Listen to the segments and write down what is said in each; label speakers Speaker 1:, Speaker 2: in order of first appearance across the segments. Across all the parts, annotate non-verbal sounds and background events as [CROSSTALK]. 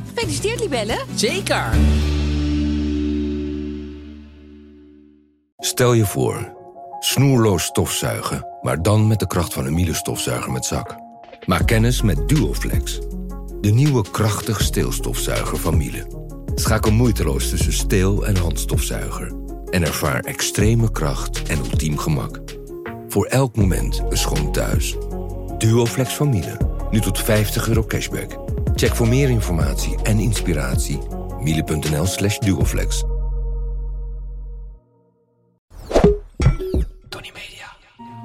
Speaker 1: Gefeliciteerd, Libelle.
Speaker 2: Zeker!
Speaker 3: Stel je voor, snoerloos stofzuigen, maar dan met de kracht van een Miele stofzuiger met zak. Maak kennis met Duoflex, de nieuwe krachtig steelstofzuiger van Miele. Schakel moeiteloos tussen steel- en handstofzuiger en ervaar extreme kracht en ultiem gemak. Voor elk moment een schoon thuis. Duoflex van Miele, nu tot 50 euro cashback. Check voor meer informatie en inspiratie miele.nl slash duoflex.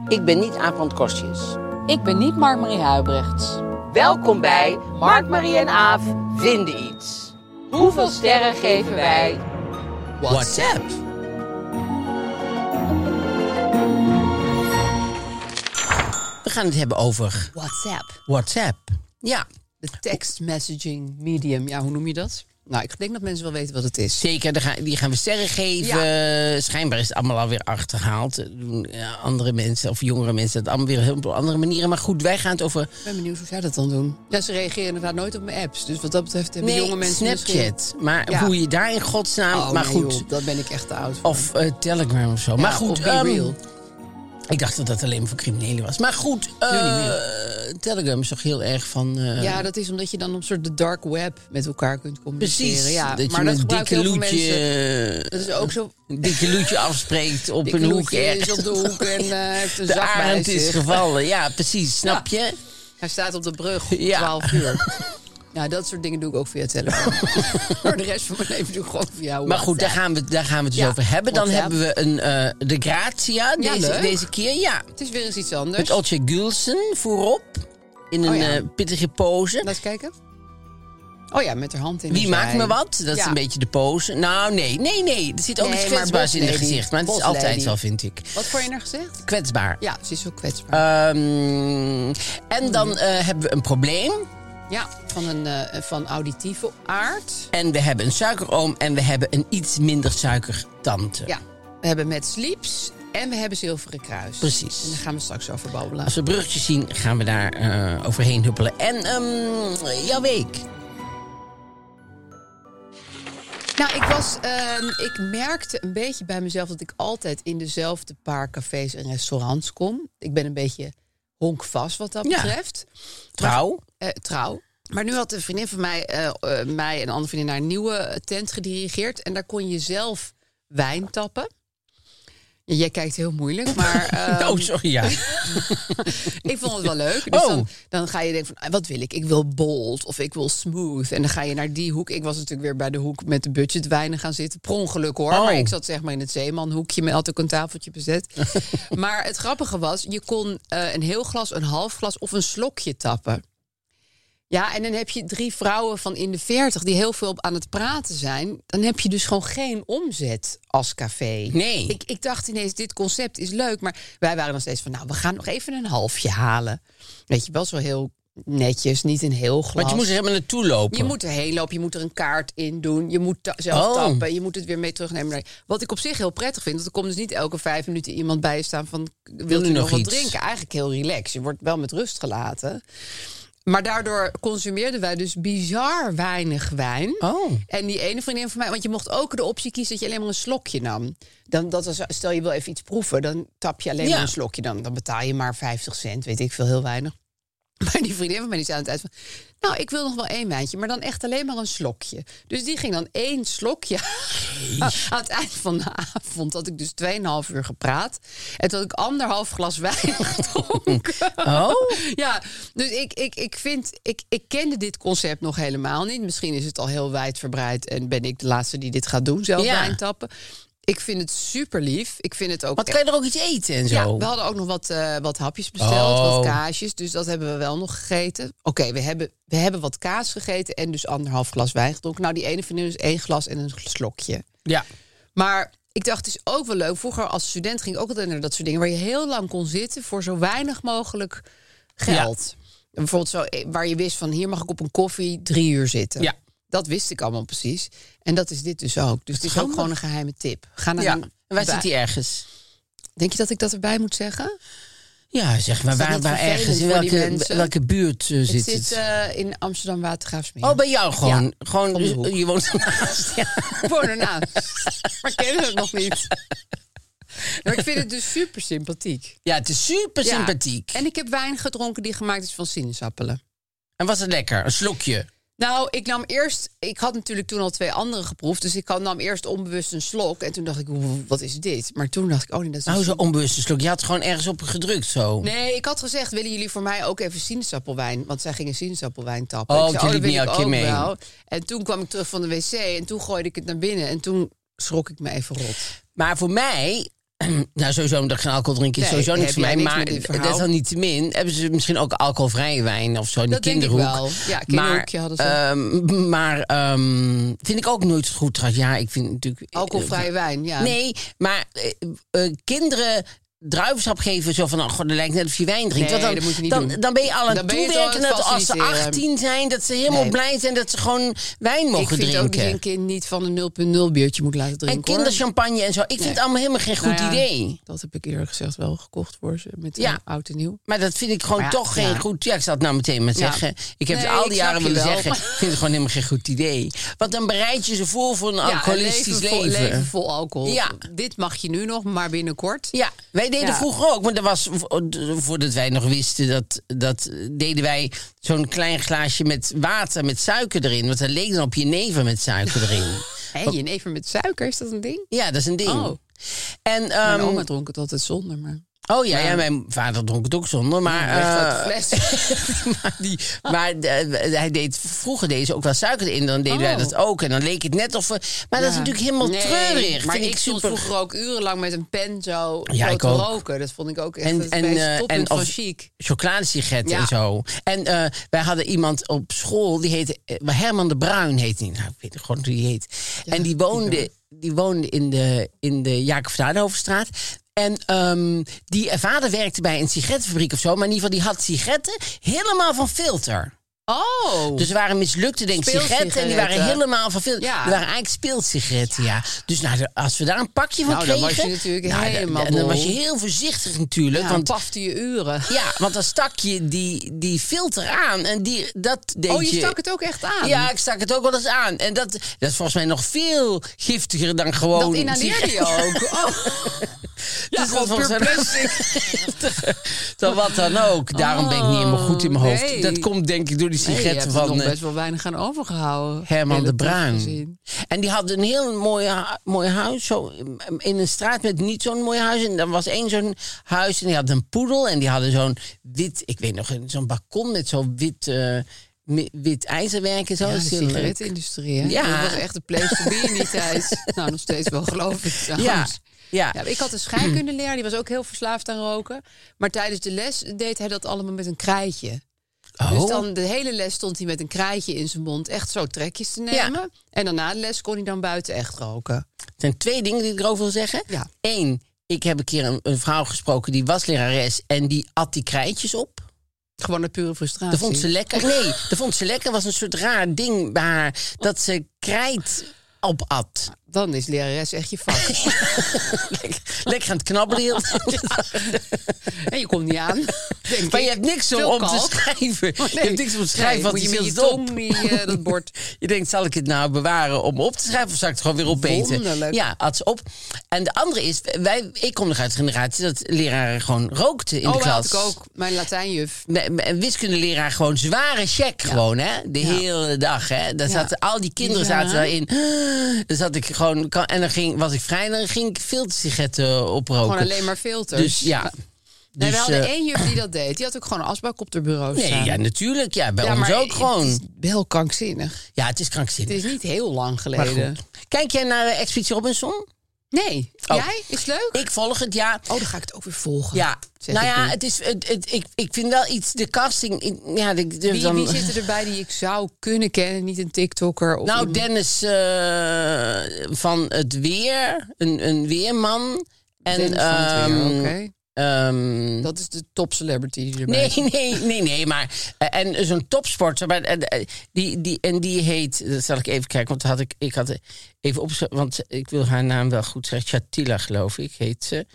Speaker 2: Ik ben niet Aaf van Kostjes.
Speaker 4: Ik ben niet Mark-Marie Huibrechts.
Speaker 2: Welkom bij Mark, Marie en Aaf vinden iets. Hoeveel sterren geven wij? WhatsApp. We gaan het hebben over
Speaker 4: WhatsApp.
Speaker 2: WhatsApp. Ja,
Speaker 4: De text messaging medium. Ja, hoe noem je dat? Nou, ik denk dat mensen wel weten wat het is.
Speaker 2: zeker. daar gaan- Die gaan we sterren geven. Schijnbaar is het allemaal alweer achterhaald. Eh, Doen eh, andere mensen of jongere mensen het allemaal weer heel op andere manieren. Maar goed, wij gaan het over
Speaker 4: Ik ben benieuwd hoe zij dat dan doen. Ja, ze reageren inderdaad nooit op mijn apps. Dus wat dat betreft hebben
Speaker 2: nee,
Speaker 4: jonge mensen misschien-
Speaker 2: Snapchat. Maar
Speaker 4: Ja.
Speaker 2: hoe je daar in godsnaam...
Speaker 4: Oh,
Speaker 2: maar
Speaker 4: nee,
Speaker 2: goed,
Speaker 4: joh, dat ben ik echt te oud voor.
Speaker 2: Of eh, Telegram of zo. maar
Speaker 4: Ja,
Speaker 2: goed,
Speaker 4: of Be
Speaker 2: ehm,
Speaker 4: Real.
Speaker 2: ik dacht dat dat alleen voor criminelen was. Maar goed,
Speaker 4: niet
Speaker 2: eh, Telegram is toch heel erg van. eh,
Speaker 4: Ja, dat is omdat je dan op soort de dark web met elkaar kunt communiceren.
Speaker 2: precies.
Speaker 4: ja.
Speaker 2: dat
Speaker 4: maar
Speaker 2: je
Speaker 4: dat
Speaker 2: met
Speaker 4: gebruiken
Speaker 2: dikke
Speaker 4: heel veel
Speaker 2: loetje,
Speaker 4: mensen.
Speaker 2: eh,
Speaker 4: Dat is ook zo.
Speaker 2: een dikke loetje afspreekt op
Speaker 4: Dikke
Speaker 2: een hoek
Speaker 4: Loetje is
Speaker 2: ergens.
Speaker 4: op de hoek
Speaker 2: [LAUGHS]
Speaker 4: en eh, heeft een
Speaker 2: de
Speaker 4: zak bij
Speaker 2: arend is
Speaker 4: zich.
Speaker 2: gevallen. Ja, precies. Snap je?
Speaker 4: Hij staat op de brug om
Speaker 2: Ja.
Speaker 4: 12 uur.
Speaker 2: [LAUGHS]
Speaker 4: Ja, dat soort dingen doe ik ook via telefoon. Voor de rest van mijn leven doe ik gewoon via
Speaker 2: Maar goed, daar gaan we, daar gaan we het dus
Speaker 4: Ja,
Speaker 2: over hebben. Dan
Speaker 4: WhatsApp.
Speaker 2: hebben we een, eh, de Grazia
Speaker 4: Ja,
Speaker 2: deze,
Speaker 4: leuk.
Speaker 2: deze keer. Ja,
Speaker 4: Het is weer eens iets anders.
Speaker 2: met Otje Gulsen voorop. In een
Speaker 4: Dus- Oh ja.
Speaker 2: eh, pittige pose.
Speaker 4: Laat eens kijken. Oh ja, met haar hand in
Speaker 2: Wie
Speaker 4: haar
Speaker 2: maakt
Speaker 4: zij.
Speaker 2: me wat? Dat is
Speaker 4: Ja.
Speaker 2: een beetje de pose. Nou, nee, nee, nee. Er zit ook
Speaker 4: Nee,
Speaker 2: iets
Speaker 4: maar
Speaker 2: kwetsbaars in het
Speaker 4: boslady.
Speaker 2: gezicht. Maar het is
Speaker 4: Boslady.
Speaker 2: altijd wel, vind ik.
Speaker 4: Wat voor je naar gezegd?
Speaker 2: Kwetsbaar.
Speaker 4: Ja, ze is zo kwetsbaar.
Speaker 2: Ehm, en dan eh, hebben we een probleem.
Speaker 4: ja, van, een, eh, van auditieve aard.
Speaker 2: En we hebben een suikeroom. En we hebben een iets minder suikertante.
Speaker 4: Ja, we hebben met sleeps en we hebben zilveren kruis.
Speaker 2: Precies.
Speaker 4: En daar gaan we straks over babbelen.
Speaker 2: Als we bruggetjes zien, gaan we daar eh, overheen huppelen. En ehm, jouw week.
Speaker 4: Nou, ik was, ehm, ik merkte een beetje bij mezelf dat ik altijd in dezelfde paar cafés en restaurants kom. Ik ben een beetje honkvast wat dat
Speaker 2: Ja.
Speaker 4: betreft.
Speaker 2: Trouw.
Speaker 4: Eh, trouw. Maar nu had een vriendin van mij, eh, eh, mij en een andere vriendin naar een nieuwe tent gedirigeerd. En daar kon je zelf wijn tappen. Ja, Jij kijkt heel
Speaker 2: [LAUGHS]
Speaker 4: moeilijk, maar ehm,
Speaker 2: oh, sorry, ja.
Speaker 4: [LAUGHS] ik vond het wel leuk. Dus
Speaker 2: Oh.
Speaker 4: dan, dan ga je denken van, ah, wat wil ik? Ik wil bold of ik wil smooth. En dan ga je naar die hoek. Ik was natuurlijk weer bij de hoek met de budgetwijnen gaan zitten. Per ongeluk hoor.
Speaker 2: Oh.
Speaker 4: Maar ik zat zeg maar in het zeemanhoekje met altijd ook een tafeltje
Speaker 2: [LAUGHS]
Speaker 4: bezet. maar het grappige was, je kon eh, een heel glas, een half glas of een slokje tappen. Ja, en dan heb je drie vrouwen van in de veertig die heel veel aan het praten zijn. Dan heb je dus gewoon geen omzet als café.
Speaker 2: Nee.
Speaker 4: Ik, ik dacht ineens, dit concept is leuk. Maar wij waren nog steeds van, nou, we gaan nog even een halfje halen. Weet je, wel zo heel netjes, niet een heel glas.
Speaker 2: Want je moest er helemaal naartoe lopen.
Speaker 4: Je moet erheen lopen, je moet er een kaart in doen. Je moet ta- zelf
Speaker 2: Oh.
Speaker 4: tappen, je moet het weer mee terugnemen. Nee, Wat ik op zich heel prettig vind, want er komt dus niet elke vijf minuten iemand bij je staan van... Wilt
Speaker 2: u
Speaker 4: u nog,
Speaker 2: nog
Speaker 4: wat
Speaker 2: iets?
Speaker 4: drinken? Eigenlijk heel relaxed. Je wordt wel met rust gelaten. Maar daardoor consumeerden wij dus bizar weinig wijn.
Speaker 2: Oh.
Speaker 4: En die ene vriendin van mij, want je mocht ook de optie kiezen dat je alleen maar een slokje nam. Dan, dat was, stel je wil even iets proeven, dan tap je alleen
Speaker 2: Ja.
Speaker 4: maar een slokje. Dan, dan betaal je maar 50 cent, weet ik veel, heel weinig. [LAUGHS] Maar die vriendin van mij die zei aan het eind van... Nou, ik wil nog wel één wijntje, maar dan echt alleen maar een slokje. Dus die ging dan één slokje Ah, aan het eind van de avond. Had ik dus 2,5 uur gepraat. En toen had ik anderhalf glas wijn [LAUGHS] gedronken.
Speaker 2: Oh.
Speaker 4: Ja, dus ik, ik, ik vind... Ik, ik kende dit concept nog helemaal niet. Misschien is het al heel wijdverbreid en ben ik de laatste die dit gaat doen, zelf
Speaker 2: Ja.
Speaker 4: wijn tappen. Ik vind het super lief. Ik vind het ook.
Speaker 2: Wat kan je er ook iets eten en zo?
Speaker 4: Ja, we hadden ook nog wat, eh, wat hapjes besteld,
Speaker 2: Oh.
Speaker 4: wat kaasjes. Dus dat hebben we wel nog gegeten. Oké, we, hebben, we hebben wat kaas gegeten en dus anderhalf glas wijn gedronken. Nou, die ene vriendin is één glas en een slokje.
Speaker 2: Ja.
Speaker 4: Maar ik dacht, het is ook wel leuk. Vroeger als student ging ik ook altijd naar dat soort dingen... waar je heel lang kon zitten voor zo weinig mogelijk geld. En Bijvoorbeeld zo, eh, waar je wist van... hier mag ik op een koffie drie uur zitten.
Speaker 2: Ja.
Speaker 4: Dat wist ik allemaal precies. En dat is dit dus ook. Dus het is ook
Speaker 2: handig.
Speaker 4: gewoon een geheime tip. Ga naar
Speaker 2: ja.
Speaker 4: een-
Speaker 2: En waar zit die ergens?
Speaker 4: Denk je dat ik dat erbij moet zeggen?
Speaker 2: Ja, zeg maar,
Speaker 4: Is dat
Speaker 2: waar,
Speaker 4: niet
Speaker 2: waar
Speaker 4: vervelend
Speaker 2: ergens? In
Speaker 4: voor die
Speaker 2: welke,
Speaker 4: mensen?
Speaker 2: welke buurt eh,
Speaker 4: Het
Speaker 2: zit
Speaker 4: zit
Speaker 2: het?
Speaker 4: eh, in Amsterdam Watergraafsmeer.
Speaker 2: Oh, bij jou gewoon.
Speaker 4: Ja,
Speaker 2: gewoon eh,
Speaker 4: om de hoek.
Speaker 2: je woont ernaast.
Speaker 4: [LAUGHS]
Speaker 2: Ja.
Speaker 4: Ik woon
Speaker 2: Nou.
Speaker 4: [LAUGHS] ernaast. maar kennen het nog niet. Maar ik vind het dus super sympathiek.
Speaker 2: ja, het is super
Speaker 4: Ja.
Speaker 2: sympathiek. En,
Speaker 4: En ik heb wijn gedronken die gemaakt is van sinaasappelen.
Speaker 2: was het lekker? Een slokje.
Speaker 4: Nou, ik nam eerst. Ik had natuurlijk toen al twee andere geproefd. Dus ik nam eerst onbewust een slok. En toen dacht ik, "Oeh, wat is dit? Maar toen dacht ik, oh nee, dat is. een
Speaker 2: Nou, zo'n
Speaker 4: sin-
Speaker 2: onbewuste slok. Je had gewoon ergens op gedrukt zo.
Speaker 4: Nee, ik had gezegd, willen jullie voor mij ook even sinaasappelwijn? Want zij gingen sinaasappelwijn tappen.
Speaker 2: Oh,
Speaker 4: ik zei,
Speaker 2: jullie
Speaker 4: dat wil
Speaker 2: niet
Speaker 4: ik
Speaker 2: elke keer
Speaker 4: ook
Speaker 2: mee.
Speaker 4: wel. En toen kwam ik terug van de wc en toen gooide ik het naar binnen. En toen schrok ik me even rot.
Speaker 2: Maar voor mij, [CLEARS THROAT] nou sowieso omdat ik geen alcohol drink, is
Speaker 4: Nee,
Speaker 2: sowieso niks
Speaker 4: heb
Speaker 2: voor
Speaker 4: jij
Speaker 2: mij.
Speaker 4: niks
Speaker 2: Maar
Speaker 4: met dit verhaal?
Speaker 2: dat is dan niet te min. Hebben ze misschien ook alcoholvrije wijn of zo? Die
Speaker 4: Dat denk ik
Speaker 2: kinderhoek.
Speaker 4: wel. Ja, kinderhoekje hadden ze.
Speaker 2: ehm, maar ehm, vind ik ook nooit goed trouwens. Ja, ik vind natuurlijk.
Speaker 4: Alcoholvrije wijn, ja.
Speaker 2: Eh, Nee, maar eh, eh, kinderen druivensap geven zo van, oh god, dat lijkt net of je wijn drinkt.
Speaker 4: Nee,
Speaker 2: Want dan,
Speaker 4: dat moet je niet
Speaker 2: dan,
Speaker 4: doen.
Speaker 2: dan ben je al aan
Speaker 4: Dan
Speaker 2: het
Speaker 4: ben je het al
Speaker 2: toewerken
Speaker 4: aan het
Speaker 2: dat als ze
Speaker 4: faciliteren.
Speaker 2: 18 zijn, dat ze helemaal
Speaker 4: Nee.
Speaker 2: blij zijn dat ze gewoon wijn mogen
Speaker 4: ik vind
Speaker 2: drinken.
Speaker 4: ook dat je een kind niet van een 0.0 biertje moet laten drinken.
Speaker 2: en kinderchampagne en zo. Ik vind het allemaal helemaal geen
Speaker 4: hoor.
Speaker 2: goed
Speaker 4: Nou ja,
Speaker 2: idee.
Speaker 4: Dat heb ik eerlijk gezegd wel gekocht voor ze. Met
Speaker 2: Ja.
Speaker 4: ja. oud en nieuw.
Speaker 2: Maar dat vind ik gewoon
Speaker 4: Maar ja,
Speaker 2: toch geen
Speaker 4: ja.
Speaker 2: goed... Ja, ik zal het nou meteen maar
Speaker 4: Ja.
Speaker 2: zeggen. Ik heb
Speaker 4: Nee,
Speaker 2: het al
Speaker 4: ik
Speaker 2: die
Speaker 4: snap
Speaker 2: jaren
Speaker 4: je
Speaker 2: willen
Speaker 4: wel,
Speaker 2: zeggen.
Speaker 4: maar-
Speaker 2: Ik vind het gewoon helemaal geen goed idee. Want dan bereid je ze voor voor een
Speaker 4: Ja, een
Speaker 2: alcoholistisch
Speaker 4: leven, vol-
Speaker 2: leven.
Speaker 4: leven vol alcohol.
Speaker 2: Ja.
Speaker 4: Dit mag je nu nog, maar binnenkort.
Speaker 2: Ja, wij deden
Speaker 4: Ja.
Speaker 2: vroeger ook. Maar dat was, voordat wij nog wisten, dat, dat deden wij zo'n klein glaasje met water, met suiker erin. Want dat leek dan op je neven met suiker
Speaker 4: [LAUGHS]
Speaker 2: erin.
Speaker 4: Hé, je never met suiker, is dat een ding?
Speaker 2: Ja, dat is een ding.
Speaker 4: Oh.
Speaker 2: En,
Speaker 4: Mijn
Speaker 2: ehm,
Speaker 4: oma dronk het altijd zonder, maar...
Speaker 2: oh ja, ja, mijn vader dronk het ook zonder. Maar,
Speaker 4: Echt
Speaker 2: eh,
Speaker 4: uit de fles.
Speaker 2: [LAUGHS] maar, die, maar eh, hij deed, vroeger deed ze ook wel suiker in. Dan deden
Speaker 4: Oh.
Speaker 2: wij dat ook. En dan leek het net of we... Maar dat is
Speaker 4: Ja.
Speaker 2: natuurlijk helemaal
Speaker 4: Nee,
Speaker 2: treurig.
Speaker 4: Maar
Speaker 2: Vind
Speaker 4: ik stond
Speaker 2: super...
Speaker 4: vroeger ook urenlang met een pen zo
Speaker 2: Ja,
Speaker 4: zo
Speaker 2: ik
Speaker 4: te
Speaker 2: ook.
Speaker 4: roken. Dat vond ik ook echt
Speaker 2: En-
Speaker 4: het
Speaker 2: en,
Speaker 4: meest
Speaker 2: eh,
Speaker 4: toppunt
Speaker 2: en
Speaker 4: van
Speaker 2: als-
Speaker 4: chic.
Speaker 2: chocoladesigaretten
Speaker 4: Ja.
Speaker 2: en zo. En eh, wij hadden iemand op school, die heette eh, Herman de Bruin, heet die. Nou, ik weet gewoon hoe die heet. en die woonde, die woonde in de, in de Jacob van Aardenhovenstraat. En ehm, die eh, vader werkte bij een sigarettenfabriek of zo. Maar in ieder geval, die had sigaretten helemaal van filter.
Speaker 4: Oh!
Speaker 2: Dus er waren mislukte, denk ik, sigaretten. En die waren
Speaker 4: Speelsigaretten.
Speaker 2: helemaal van filter.
Speaker 4: Ja.
Speaker 2: Er waren eigenlijk speelsigaretten, ja. Dus nou, de- als we daar een pakje van
Speaker 4: Nou, dan
Speaker 2: kregen...
Speaker 4: was je natuurlijk
Speaker 2: nou, dan-
Speaker 4: helemaal
Speaker 2: dan, dan
Speaker 4: bol.
Speaker 2: was je heel voorzichtig natuurlijk.
Speaker 4: ja, dan
Speaker 2: want
Speaker 4: pafte je uren.
Speaker 2: ja, want dan stak je die, die filter aan en die, dat deed
Speaker 4: Oh, je stak het ook echt aan?
Speaker 2: Ja, ik stak het ook wel eens aan. En dat, dat is volgens mij nog veel giftiger dan gewoon...
Speaker 4: dat inhaleerde je
Speaker 2: oh, [LAUGHS] sigaretten.
Speaker 4: ook. Oh. Ja,
Speaker 2: Dus dat
Speaker 4: gewoon
Speaker 2: was
Speaker 4: puur
Speaker 2: een-
Speaker 4: plastic.
Speaker 2: [LAUGHS] Dan wat dan ook. Daarom ben ik niet helemaal goed in mijn hoofd.
Speaker 4: Oh, Nee.
Speaker 2: Dat komt denk ik door die
Speaker 4: Nee, je hebt
Speaker 2: sigaretten
Speaker 4: er
Speaker 2: van
Speaker 4: nog
Speaker 2: eh,
Speaker 4: best wel weinig aan overgehouden.
Speaker 2: Herman de
Speaker 4: relatief
Speaker 2: Bruin.
Speaker 4: gezien.
Speaker 2: En die had een heel mooi, ha- mooi huis. Zo in- in een straat met niet zo'n mooi huis. En dan was één zo'n huis en die had een poedel. En die hadden zo'n wit, ik weet nog, zo'n balkon met zo'n wit... eh, mi- wit ijzerwerk en zo.
Speaker 4: Ja, de
Speaker 2: Dat is heel leuk.
Speaker 4: sigarettenindustrie, hè?
Speaker 2: Ja.
Speaker 4: Dat was echt de place to be in die tijd. [LAUGHS] Nou, nog steeds wel, geloof ik.
Speaker 2: Ja,
Speaker 4: trouwens.
Speaker 2: ja.
Speaker 4: Ja, ik had een scheikundeleraar, die was ook heel verslaafd aan roken. Maar tijdens de les deed hij dat allemaal met een krijtje.
Speaker 2: Oh.
Speaker 4: Dus dan de hele les stond hij met een krijtje in zijn mond echt zo trekjes te nemen. En dan na de les kon hij dan buiten echt roken.
Speaker 2: Er zijn twee dingen die ik erover wil zeggen.
Speaker 4: Ja.
Speaker 2: Eén, ik heb een keer een, een vrouw gesproken die was lerares en die at die krijtjes op.
Speaker 4: Gewoon een pure frustratie.
Speaker 2: Dat vond ze lekker. Nee, dat vond ze lekker. was een soort raar ding bij haar dat ze krijt op at.
Speaker 4: Dan is lerares echt je
Speaker 2: [LAUGHS]
Speaker 4: vak.
Speaker 2: Lekker, lekker aan het knabbelen. heel-
Speaker 4: [LAUGHS] en je komt niet
Speaker 2: [LAUGHS]
Speaker 4: aan. Denk
Speaker 2: Maar je
Speaker 4: ik.
Speaker 2: hebt niks om,
Speaker 4: Veel
Speaker 2: om te
Speaker 4: kalk.
Speaker 2: schrijven. Je
Speaker 4: Nee.
Speaker 2: hebt niks om te schrijven,
Speaker 4: Nee,
Speaker 2: want
Speaker 4: moet
Speaker 2: die
Speaker 4: je met
Speaker 2: zit
Speaker 4: je
Speaker 2: op.
Speaker 4: tong die,
Speaker 2: [LAUGHS]
Speaker 4: eh, dat bord.
Speaker 2: Je denkt, zal ik het nou bewaren om op te schrijven of zal ik het gewoon weer opeten?
Speaker 4: Wonderlijk.
Speaker 2: Ja, had ze op. En de andere is, wij, ik kom nog uit de generatie dat leraren gewoon rookten in
Speaker 4: oh,
Speaker 2: de
Speaker 4: dat
Speaker 2: klas.
Speaker 4: had ik ook. Mijn Latijnjuf.
Speaker 2: Me- me- Een wiskundeleraar gewoon zware check gewoon, hè? De hele dag, hè? Daar
Speaker 4: Ja.
Speaker 2: zaten al die kinderen
Speaker 4: Ja.
Speaker 2: zaten daarin. [GASPS] Dan zat ik gewoon... kan- En dan ging, was ik vrij en dan ging ik filtersigaretten oproken.
Speaker 4: Gewoon alleen maar filters.
Speaker 2: Dus ja.
Speaker 4: Nee, we
Speaker 2: Dus,
Speaker 4: hadden
Speaker 2: eh,
Speaker 4: één juf die dat deed. Die had ook gewoon een asbak op haar bureau
Speaker 2: Nee,
Speaker 4: staan.
Speaker 2: ja, natuurlijk. Ja, bij
Speaker 4: Ja,
Speaker 2: ons
Speaker 4: maar
Speaker 2: ook gewoon.
Speaker 4: Het is wel krankzinnig.
Speaker 2: ja, het is krankzinnig.
Speaker 4: Het is niet heel lang
Speaker 2: Maar
Speaker 4: geleden.
Speaker 2: goed. Kijk jij naar eh, Expeditie Robinson?
Speaker 4: Nee.
Speaker 2: Oh.
Speaker 4: Jij? Is het leuk?
Speaker 2: Ik volg het, ja.
Speaker 4: Oh, dan ga ik het ook weer volgen.
Speaker 2: Ja,
Speaker 4: Zeg
Speaker 2: nou
Speaker 4: ik
Speaker 2: ja,
Speaker 4: nu.
Speaker 2: het is, het, het- ik, ik vind wel iets, de casting, ik- ja, ik durf
Speaker 4: Wie,
Speaker 2: dan...
Speaker 4: wie zitten erbij die ik zou kunnen kennen? Niet een TikToker of
Speaker 2: Nou,
Speaker 4: iemand-
Speaker 2: Dennis eh, van het Weer, een, een weerman. En,
Speaker 4: Dennis van het Weer,
Speaker 2: ehm,
Speaker 4: oké.
Speaker 2: ehm,
Speaker 4: Dat is de top celebrity die erbij
Speaker 2: nee, [LAUGHS]
Speaker 4: zit.
Speaker 2: nee, nee, nee, maar... eh, En zo'n topsporter, maar, eh, eh, die, die, en die heet... Dat zal ik even kijken, want had ik, ik had even op... Want ik wil haar naam wel goed zeggen. Shatila, geloof ik, heet ze.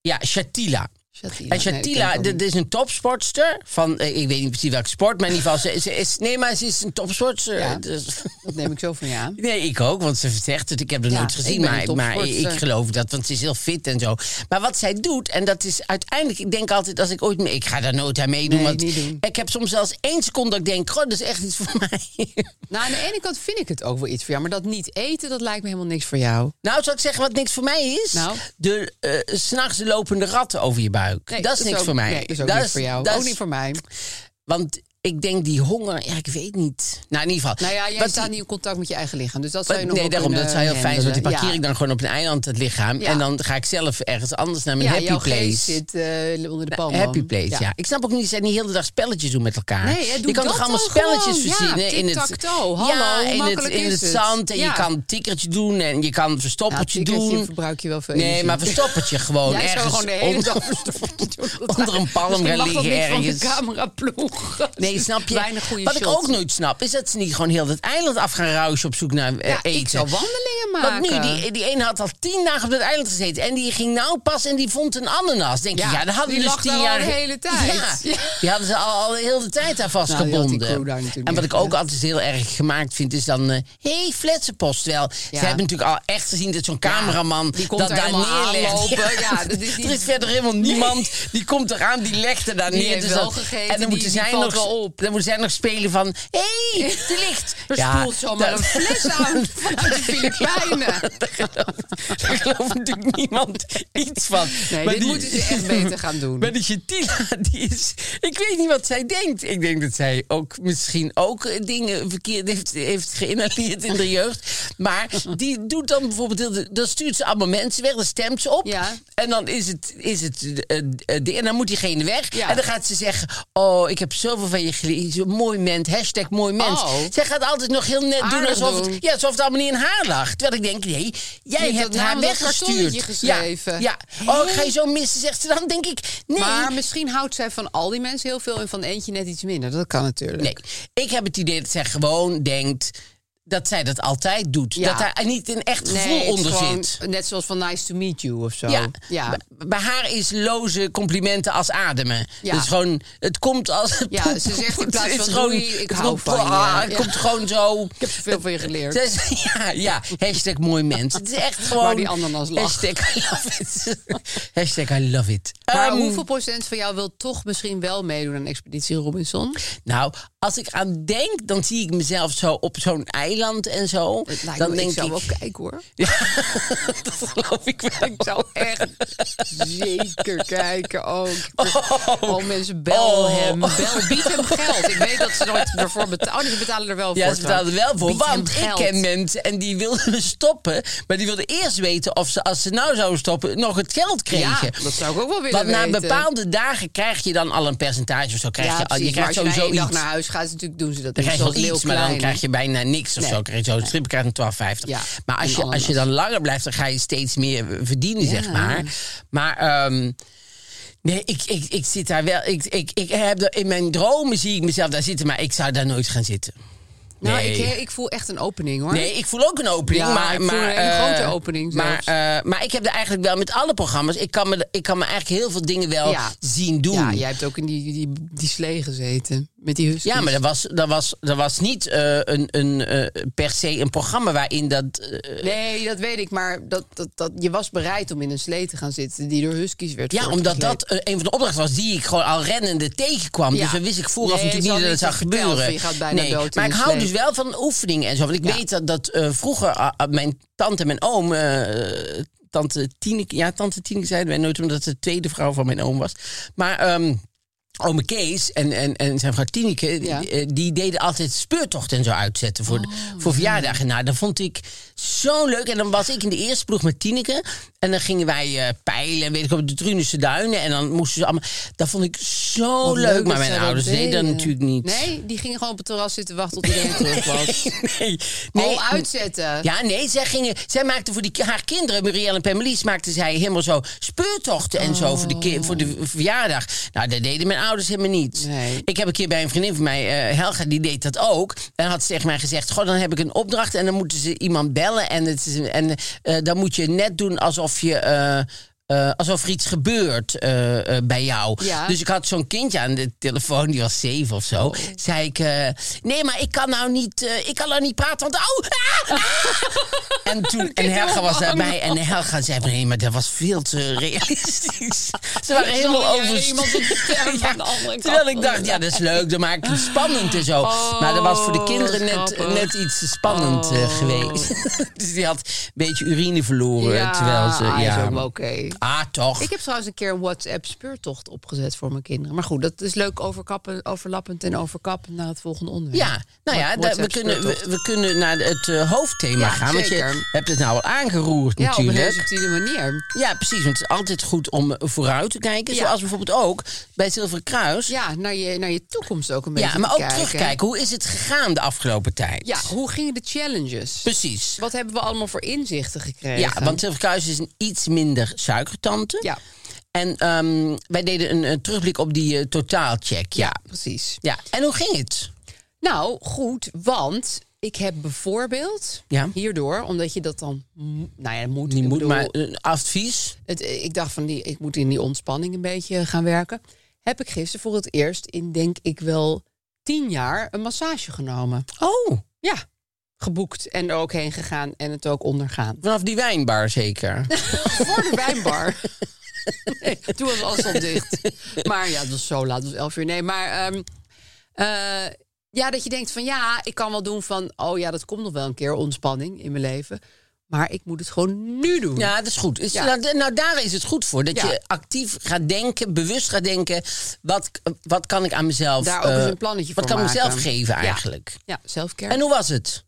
Speaker 2: Ja, Shatila.
Speaker 4: Shatila.
Speaker 2: En
Speaker 4: Nee, dat ken
Speaker 2: Shatila,
Speaker 4: ik ook
Speaker 2: dat
Speaker 4: niet.
Speaker 2: is een topsportster. Van, eh, ik weet niet precies welke sport, maar in ieder geval... Ze, ze is, nee, maar ze is een topsportster.
Speaker 4: Ja.
Speaker 2: Dus-
Speaker 4: Dat neem ik zo van je aan.
Speaker 2: Nee, ik ook, want ze zegt het. Ik heb het
Speaker 4: Ja,
Speaker 2: nooit
Speaker 4: ik
Speaker 2: gezien,
Speaker 4: ben
Speaker 2: maar,
Speaker 4: een
Speaker 2: maar
Speaker 4: topsportster.
Speaker 2: ik geloof dat, want ze is heel fit en zo. Maar wat zij doet, en dat is uiteindelijk... Ik denk altijd, als ik ooit... mee- Ik ga daar nooit aan meedoen,
Speaker 4: Nee,
Speaker 2: want
Speaker 4: niet doen.
Speaker 2: ik heb soms zelfs één seconde dat ik denk... Goh, dat is echt iets voor [LAUGHS] mij.
Speaker 4: Nou, aan de ene kant vind ik het ook wel iets voor jou. Maar dat niet eten, dat lijkt me helemaal niks voor jou.
Speaker 2: nou, zou ik zeggen wat niks voor mij is?
Speaker 4: Nou?
Speaker 2: De eh, s s'nachts lopende ratten over je buik. dat is niks
Speaker 4: ook-
Speaker 2: voor mij.
Speaker 4: Nee, dat is ook
Speaker 2: niet
Speaker 4: niet voor jou. Ook niet voor mij.
Speaker 2: Want ik denk die honger... Ja, ik weet niet. Nou, in ieder geval.
Speaker 4: Nou ja, jij
Speaker 2: wat
Speaker 4: staat
Speaker 2: die-
Speaker 4: niet in contact met je eigen lichaam. Dus dat zou je nog
Speaker 2: nee,
Speaker 4: wel
Speaker 2: daarom, dat
Speaker 4: kunnen eh,
Speaker 2: zou heel fijn zijn. Want die
Speaker 4: handelen.
Speaker 2: parkeer ik dan gewoon op een eiland, het lichaam.
Speaker 4: Ja.
Speaker 2: En dan ga ik zelf ergens anders naar mijn
Speaker 4: ja,
Speaker 2: happy
Speaker 4: jouw
Speaker 2: place.
Speaker 4: geest zit eh, onder de palm.
Speaker 2: Happy place, ja. Ik snap ook niet, zij niet heel de dag spelletjes doen met elkaar.
Speaker 4: Nee, hè, doe
Speaker 2: je kan
Speaker 4: dat
Speaker 2: toch allemaal
Speaker 4: dan
Speaker 2: spelletjes
Speaker 4: gewoon. Ja,
Speaker 2: verzinnen in het,
Speaker 4: tic-tac-toe. Hallo,
Speaker 2: ja,
Speaker 4: hoe
Speaker 2: in het,
Speaker 4: makkelijk
Speaker 2: in
Speaker 4: is
Speaker 2: het
Speaker 4: het?
Speaker 2: zand en je
Speaker 4: Ja.
Speaker 2: kan tikkertje doen en je kan verstoppertje
Speaker 4: tikkertje
Speaker 2: doen.
Speaker 4: verbruik je wel veel
Speaker 2: Nee,
Speaker 4: energie.
Speaker 2: maar verstoppertje gewoon
Speaker 4: Jij zou
Speaker 2: ergens
Speaker 4: gewoon de hele
Speaker 2: onder-
Speaker 4: dag verstoppertje doen. [LAUGHS]
Speaker 2: [LAUGHS]
Speaker 4: Dat
Speaker 2: onder een palm
Speaker 4: misschien
Speaker 2: gaan
Speaker 4: mag dat
Speaker 2: liggen
Speaker 4: niet
Speaker 2: ergens.
Speaker 4: van de cameraploeg.
Speaker 2: Nee, snap je?
Speaker 4: Weinig goede
Speaker 2: Wat
Speaker 4: shots.
Speaker 2: ik ook nooit snap, is dat ze niet gewoon heel dat eiland af gaan ruisen op zoek naar eh,
Speaker 4: Ja,
Speaker 2: eten.
Speaker 4: ik zou wandelingen
Speaker 2: Want
Speaker 4: maken.
Speaker 2: nu, die, die ene had al tien dagen op dat eiland gezeten. En die ging nou pas en die vond een ananas. Denk
Speaker 4: Ja,
Speaker 2: je, ja, dat hadden
Speaker 4: die
Speaker 2: dus
Speaker 4: lag
Speaker 2: tien
Speaker 4: daar al
Speaker 2: jaar...
Speaker 4: de hele tijd.
Speaker 2: Ja,
Speaker 4: Ja.
Speaker 2: die hadden ze al, al de hele tijd aan
Speaker 4: Nou, die had
Speaker 2: vastgebonden.
Speaker 4: die crew daar natuurlijk
Speaker 2: en wat
Speaker 4: niet
Speaker 2: ik ook
Speaker 4: gedaan.
Speaker 2: altijd heel erg gemaakt vind, is dan... Hé, hey, fletsenpost wel.
Speaker 4: Ja.
Speaker 2: Ze hebben natuurlijk al echt gezien dat zo'n cameraman
Speaker 4: die komt
Speaker 2: dat
Speaker 4: er
Speaker 2: daar
Speaker 4: helemaal
Speaker 2: neerlegt.
Speaker 4: aanlopen.
Speaker 2: [LAUGHS]
Speaker 4: Ja, dat is niet-
Speaker 2: er is verder helemaal niemand. Die komt eraan, die legt er daar
Speaker 4: Die
Speaker 2: neer.
Speaker 4: heeft
Speaker 2: dus
Speaker 4: wel
Speaker 2: dat-
Speaker 4: gegeten,
Speaker 2: En
Speaker 4: die-
Speaker 2: dan moeten
Speaker 4: die
Speaker 2: zij
Speaker 4: valt
Speaker 2: nog,
Speaker 4: wel op.
Speaker 2: dan moeten zij nog spelen van... Hé, hey, er ligt...
Speaker 4: Er spoelt zomaar een fles
Speaker 2: [LAUGHS]
Speaker 4: aan vanuit de Filipijnen.
Speaker 2: Daar gelooft natuurlijk niemand iets van.
Speaker 4: Nee,
Speaker 2: Maar
Speaker 4: dit
Speaker 2: die-
Speaker 4: moeten ze echt beter gaan doen.
Speaker 2: Maar die Gentila, die is... Ik weet niet wat zij denkt. Ik denk dat zij ook misschien ook eh, dingen verkeerd heeft, heeft geïnhaleerd in de jeugd. Maar die doet dan bijvoorbeeld... heel- Dan stuurt ze allemaal mensen weg, dan stemt ze op.
Speaker 4: Ja.
Speaker 2: En dan is het... Is het eh, eh, ding. en dan moet diegene weg.
Speaker 4: Ja.
Speaker 2: En dan gaat ze zeggen... Oh, ik heb zoveel van je geleerd. Zo'n Mooi mens. Hashtag mooi mens.
Speaker 4: Oh.
Speaker 2: Zij gaat altijd nog heel net doen
Speaker 4: Aardig
Speaker 2: alsof,
Speaker 4: doen.
Speaker 2: Het, ja, alsof het allemaal niet in haar lag. Terwijl ik denk, nee, jij
Speaker 4: Je hebt
Speaker 2: hebt
Speaker 4: dat
Speaker 2: haar
Speaker 4: namelijk dat
Speaker 2: weggestuurd.
Speaker 4: kartonnetje
Speaker 2: Ja,
Speaker 4: geschreven.
Speaker 2: ja. Oh, ik ga je zo missen, zegt ze dan. Denk ik, nee.
Speaker 4: Maar misschien houdt zij van al die mensen heel veel en van eentje net iets minder. Dat kan natuurlijk.
Speaker 2: Nee, ik heb het idee dat zij gewoon denkt dat zij dat altijd doet.
Speaker 4: Ja.
Speaker 2: Dat daar niet een echt
Speaker 4: Nee,
Speaker 2: gevoel
Speaker 4: het is
Speaker 2: onder
Speaker 4: gewoon
Speaker 2: zit.
Speaker 4: Net zoals van nice to meet you of zo.
Speaker 2: Ja,
Speaker 4: ja.
Speaker 2: Bij- Bij haar is loze complimenten als ademen.
Speaker 4: Ja.
Speaker 2: Dus gewoon, het komt als...
Speaker 4: Ja, ze zegt in plaats
Speaker 2: Het is
Speaker 4: van
Speaker 2: gewoon-
Speaker 4: doei, ik
Speaker 2: het
Speaker 4: hou
Speaker 2: komt-
Speaker 4: van je.
Speaker 2: ah, Het
Speaker 4: Ja.
Speaker 2: komt gewoon zo...
Speaker 4: Ik heb zoveel van je geleerd.
Speaker 2: Ze is- [LAUGHS] Ja, ja, hashtag mooi mens. Het is echt gewoon...
Speaker 4: die ananas lag.
Speaker 2: Hashtag I love it. [LAUGHS] Hashtag I love it.
Speaker 4: Maar
Speaker 2: Ehm,
Speaker 4: hoeveel procent van jou wil toch misschien wel meedoen aan Expeditie Robinson?
Speaker 2: Nou, als ik aan denk, dan zie ik mezelf zo op zo'n eiland en zo.
Speaker 4: Het lijkt
Speaker 2: Dan
Speaker 4: me,
Speaker 2: denk
Speaker 4: Nou, ik zou
Speaker 2: ik,
Speaker 4: wel kijken hoor.
Speaker 2: [LAUGHS] dat geloof ik wel.
Speaker 4: Ik zou echt zeker kijken ook. Oh, mensen, bel
Speaker 2: Oh.
Speaker 4: hem. Bel, bied hem geld. Ik weet dat ze nooit ervoor betalen. Oh, nee, ze betalen er wel
Speaker 2: Ja,
Speaker 4: voor.
Speaker 2: ze betaalden wel voor.
Speaker 4: Bied hem
Speaker 2: Want ik
Speaker 4: geld.
Speaker 2: ken mensen en die wilden me stoppen. Maar die wilden eerst weten of ze, als ze nou zouden stoppen, nog het geld kregen.
Speaker 4: Ja, dat zou ik ook wel willen
Speaker 2: Want na
Speaker 4: weten.
Speaker 2: bepaalde dagen krijg je dan al een percentage of zo. Krijg
Speaker 4: ja,
Speaker 2: je, al-
Speaker 4: precies,
Speaker 2: je krijgt
Speaker 4: maar als je
Speaker 2: sowieso
Speaker 4: na één dag
Speaker 2: iets.
Speaker 4: naar huis gaat, natuurlijk doen ze dat
Speaker 2: Dan
Speaker 4: niet.
Speaker 2: krijg je wel
Speaker 4: zoals Leeuw
Speaker 2: iets, maar dan
Speaker 4: Kleine.
Speaker 2: krijg je bijna niks of
Speaker 4: Nee.
Speaker 2: zo. Krijg je zo'n stripkaart een 12,50.
Speaker 4: Ja,
Speaker 2: maar als
Speaker 4: en
Speaker 2: je, als je dan langer blijft, dan ga je steeds meer eh, verdienen, zeg maar. Maar ehm, nee, ik, ik, ik zit daar wel... Ik, ik, ik heb er- in mijn dromen zie ik mezelf daar zitten, maar ik zou daar nooit gaan zitten.
Speaker 4: Nou,
Speaker 2: Nee.
Speaker 4: ik, ik voel echt een opening hoor.
Speaker 2: Nee, ik voel ook een opening.
Speaker 4: Ja,
Speaker 2: maar,
Speaker 4: ik voel
Speaker 2: maar,
Speaker 4: een hele
Speaker 2: eh,
Speaker 4: grote opening
Speaker 2: Maar,
Speaker 4: zelfs.
Speaker 2: eh, maar ik heb er eigenlijk wel met alle programma's... Ik kan me, ik kan me eigenlijk heel veel dingen wel
Speaker 4: Ja.
Speaker 2: zien doen.
Speaker 4: Ja, jij hebt ook in die, die, die slee gezeten. Met die huskies.
Speaker 2: Ja, maar dat was, dat was, dat was niet eh, een, een, eh, per se een programma waarin dat... eh,
Speaker 4: Nee, dat weet ik. Maar dat, dat, dat, je was bereid om in een slee te gaan zitten die door huskies werd
Speaker 2: Ja, omdat
Speaker 4: voortgesleept.
Speaker 2: dat eh, een van de opdrachten was die ik gewoon al rennende tegenkwam.
Speaker 4: Ja.
Speaker 2: Dus dan wist ik vooraf
Speaker 4: Nee,
Speaker 2: natuurlijk
Speaker 4: ze
Speaker 2: niet dat het zou
Speaker 4: hadden niet verteld
Speaker 2: gebeuren.
Speaker 4: van je gaat bijna
Speaker 2: nee.
Speaker 4: dood in
Speaker 2: maar ik
Speaker 4: je
Speaker 2: hou
Speaker 4: sleep.
Speaker 2: dus wel van oefeningen en zo. Want ik weet dat, dat eh, vroeger ah, ah, mijn tante en mijn oom... eh, Tante Tineke, ja, tante Tineke zeiden wij nooit, omdat ze de tweede vrouw van mijn oom was. Maar ehm, Ome Kees en, en, en zijn vrouw Tineke,
Speaker 4: Ja. Oh.
Speaker 2: eh, die deden altijd speurtochten en zo uitzetten voor, de- voor verjaardagen. Nou, dat vond ik zo leuk. En dan was ik in de eerste ploeg met Tineke. En dan gingen wij eh, peilen, en weet ik op de Drunense Duinen. En dan moesten ze allemaal... Dat vond ik zo
Speaker 4: Wat
Speaker 2: leuk. Maar
Speaker 4: dat zij
Speaker 2: mijn
Speaker 4: dat
Speaker 2: ouders deden dat
Speaker 4: deden.
Speaker 2: natuurlijk niet.
Speaker 4: Nee, die gingen gewoon op het terras zitten wachten tot iedereen terug was.
Speaker 2: [LAUGHS] nee,
Speaker 4: Nee, uitzetten.
Speaker 2: Ja, nee, zij, gingen, zij maakten voor die, haar kinderen, Muriel en Pamelies, maakten zij helemaal zo speurtochten en zo voor de, ki- voor de verjaardag. Nou, dat deden mijn ouders helemaal niet.
Speaker 4: Oh. Nee.
Speaker 2: Ik heb een keer bij een vriendin van mij, eh, Helga, die deed dat ook. En had ze tegen mij gezegd, goh, dan heb ik een opdracht en dan moeten ze iemand bellen. En, het is, een- en eh, dan moet je net doen alsof je... eh, eh, alsof er iets gebeurt eh, eh, bij jou.
Speaker 4: Ja. Oh.
Speaker 2: Dus ik had zo'n kindje aan de telefoon, die was zeven of zo. Zei ik, eh, nee, maar ik kan nou niet, eh, ik kan nou niet praten, want oh, ah, ah."
Speaker 4: [LAUGHS]
Speaker 2: En toen, en Helga was daarbij en Helga zei van, hé, maar dat was veel te realistisch. Ze waren helemaal
Speaker 4: Zonder
Speaker 2: over.
Speaker 4: iemand op
Speaker 2: [LAUGHS]
Speaker 4: de stem van de andere kant. Oh,
Speaker 2: Terwijl ik dacht, ja, dat is leuk, dan maak ik het spannend en zo. maar dat was voor de kinderen net,
Speaker 4: grappig.
Speaker 2: net iets te spannend eh,
Speaker 4: Oh.
Speaker 2: geweest. [LAUGHS] dus die had een beetje urine verloren, terwijl ze,
Speaker 4: ah, is
Speaker 2: ja.
Speaker 4: ook wel oké.
Speaker 2: Ah, toch.
Speaker 4: Ik heb trouwens een keer een WhatsApp-speurtocht opgezet voor mijn kinderen. Maar goed, dat is leuk overkappen, overlappend en overkappend naar het volgende onderwerp.
Speaker 2: Ja, nou ja,
Speaker 4: Wat-
Speaker 2: da- we, kunnen, we,
Speaker 4: WhatsApp-speurtocht.
Speaker 2: we kunnen naar het eh, hoofdthema
Speaker 4: Ja,
Speaker 2: gaan. Want je
Speaker 4: zeker.
Speaker 2: hebt het nou al aangeroerd
Speaker 4: Ja, op een
Speaker 2: natuurlijk.
Speaker 4: hele subtiele manier.
Speaker 2: Ja, precies. Want het is altijd goed om eh, vooruit te kijken.
Speaker 4: Ja.
Speaker 2: Zoals bijvoorbeeld ook bij Zilveren Kruis.
Speaker 4: Ja, naar je, naar je toekomst ook een beetje
Speaker 2: Ja, maar ook
Speaker 4: te kijken.
Speaker 2: terugkijken. Hoe is het gegaan de afgelopen tijd?
Speaker 4: Ja, hoe gingen de challenges?
Speaker 2: Precies.
Speaker 4: Wat hebben we allemaal voor inzichten gekregen?
Speaker 2: Dus- Ja, want Zilveren Kruis is een iets minder suikertante.
Speaker 4: Ja,
Speaker 2: En ehm, wij deden een, een terugblik op die eh, totaalcheck. Ja.
Speaker 4: precies.
Speaker 2: ja. En hoe ging het?
Speaker 4: Nou, goed, want ik heb bijvoorbeeld
Speaker 2: Ja.
Speaker 4: hierdoor, omdat je dat dan, m- nou ja, moet,
Speaker 2: Niet
Speaker 4: ik
Speaker 2: moet,
Speaker 4: bedoel,
Speaker 2: maar een advies.
Speaker 4: het, eh, ik dacht van die, ik moet in die ontspanning een beetje gaan werken. Heb ik gisteren voor het eerst in denk ik wel tien jaar een massage genomen.
Speaker 2: Oh,
Speaker 4: Ja, geboekt en er ook heen gegaan en het ook ondergaan.
Speaker 2: vanaf die wijnbar zeker.
Speaker 4: voor de wijnbar. [LAUGHS] Nee, toen was alles al dicht. Maar ja, het was zo laat, het was elf uur. Nee, maar ehm, eh, ja, dat je denkt van ja, ik kan wel doen van... oh ja, dat komt nog wel een keer, ontspanning in mijn leven. Maar ik moet het gewoon nu doen.
Speaker 2: Ja, dat is goed. Is,
Speaker 4: Ja.
Speaker 2: nou, nou, daar is het goed voor. Dat
Speaker 4: Ja.
Speaker 2: je actief gaat denken, bewust gaat denken. Wat, wat kan ik aan mezelf...
Speaker 4: Daar ook eens
Speaker 2: eh,
Speaker 4: een plannetje
Speaker 2: Wat
Speaker 4: voor
Speaker 2: kan ik
Speaker 4: maken.
Speaker 2: mezelf geven
Speaker 4: Ja.
Speaker 2: eigenlijk?
Speaker 4: Ja, zelfcare.
Speaker 2: En hoe was het?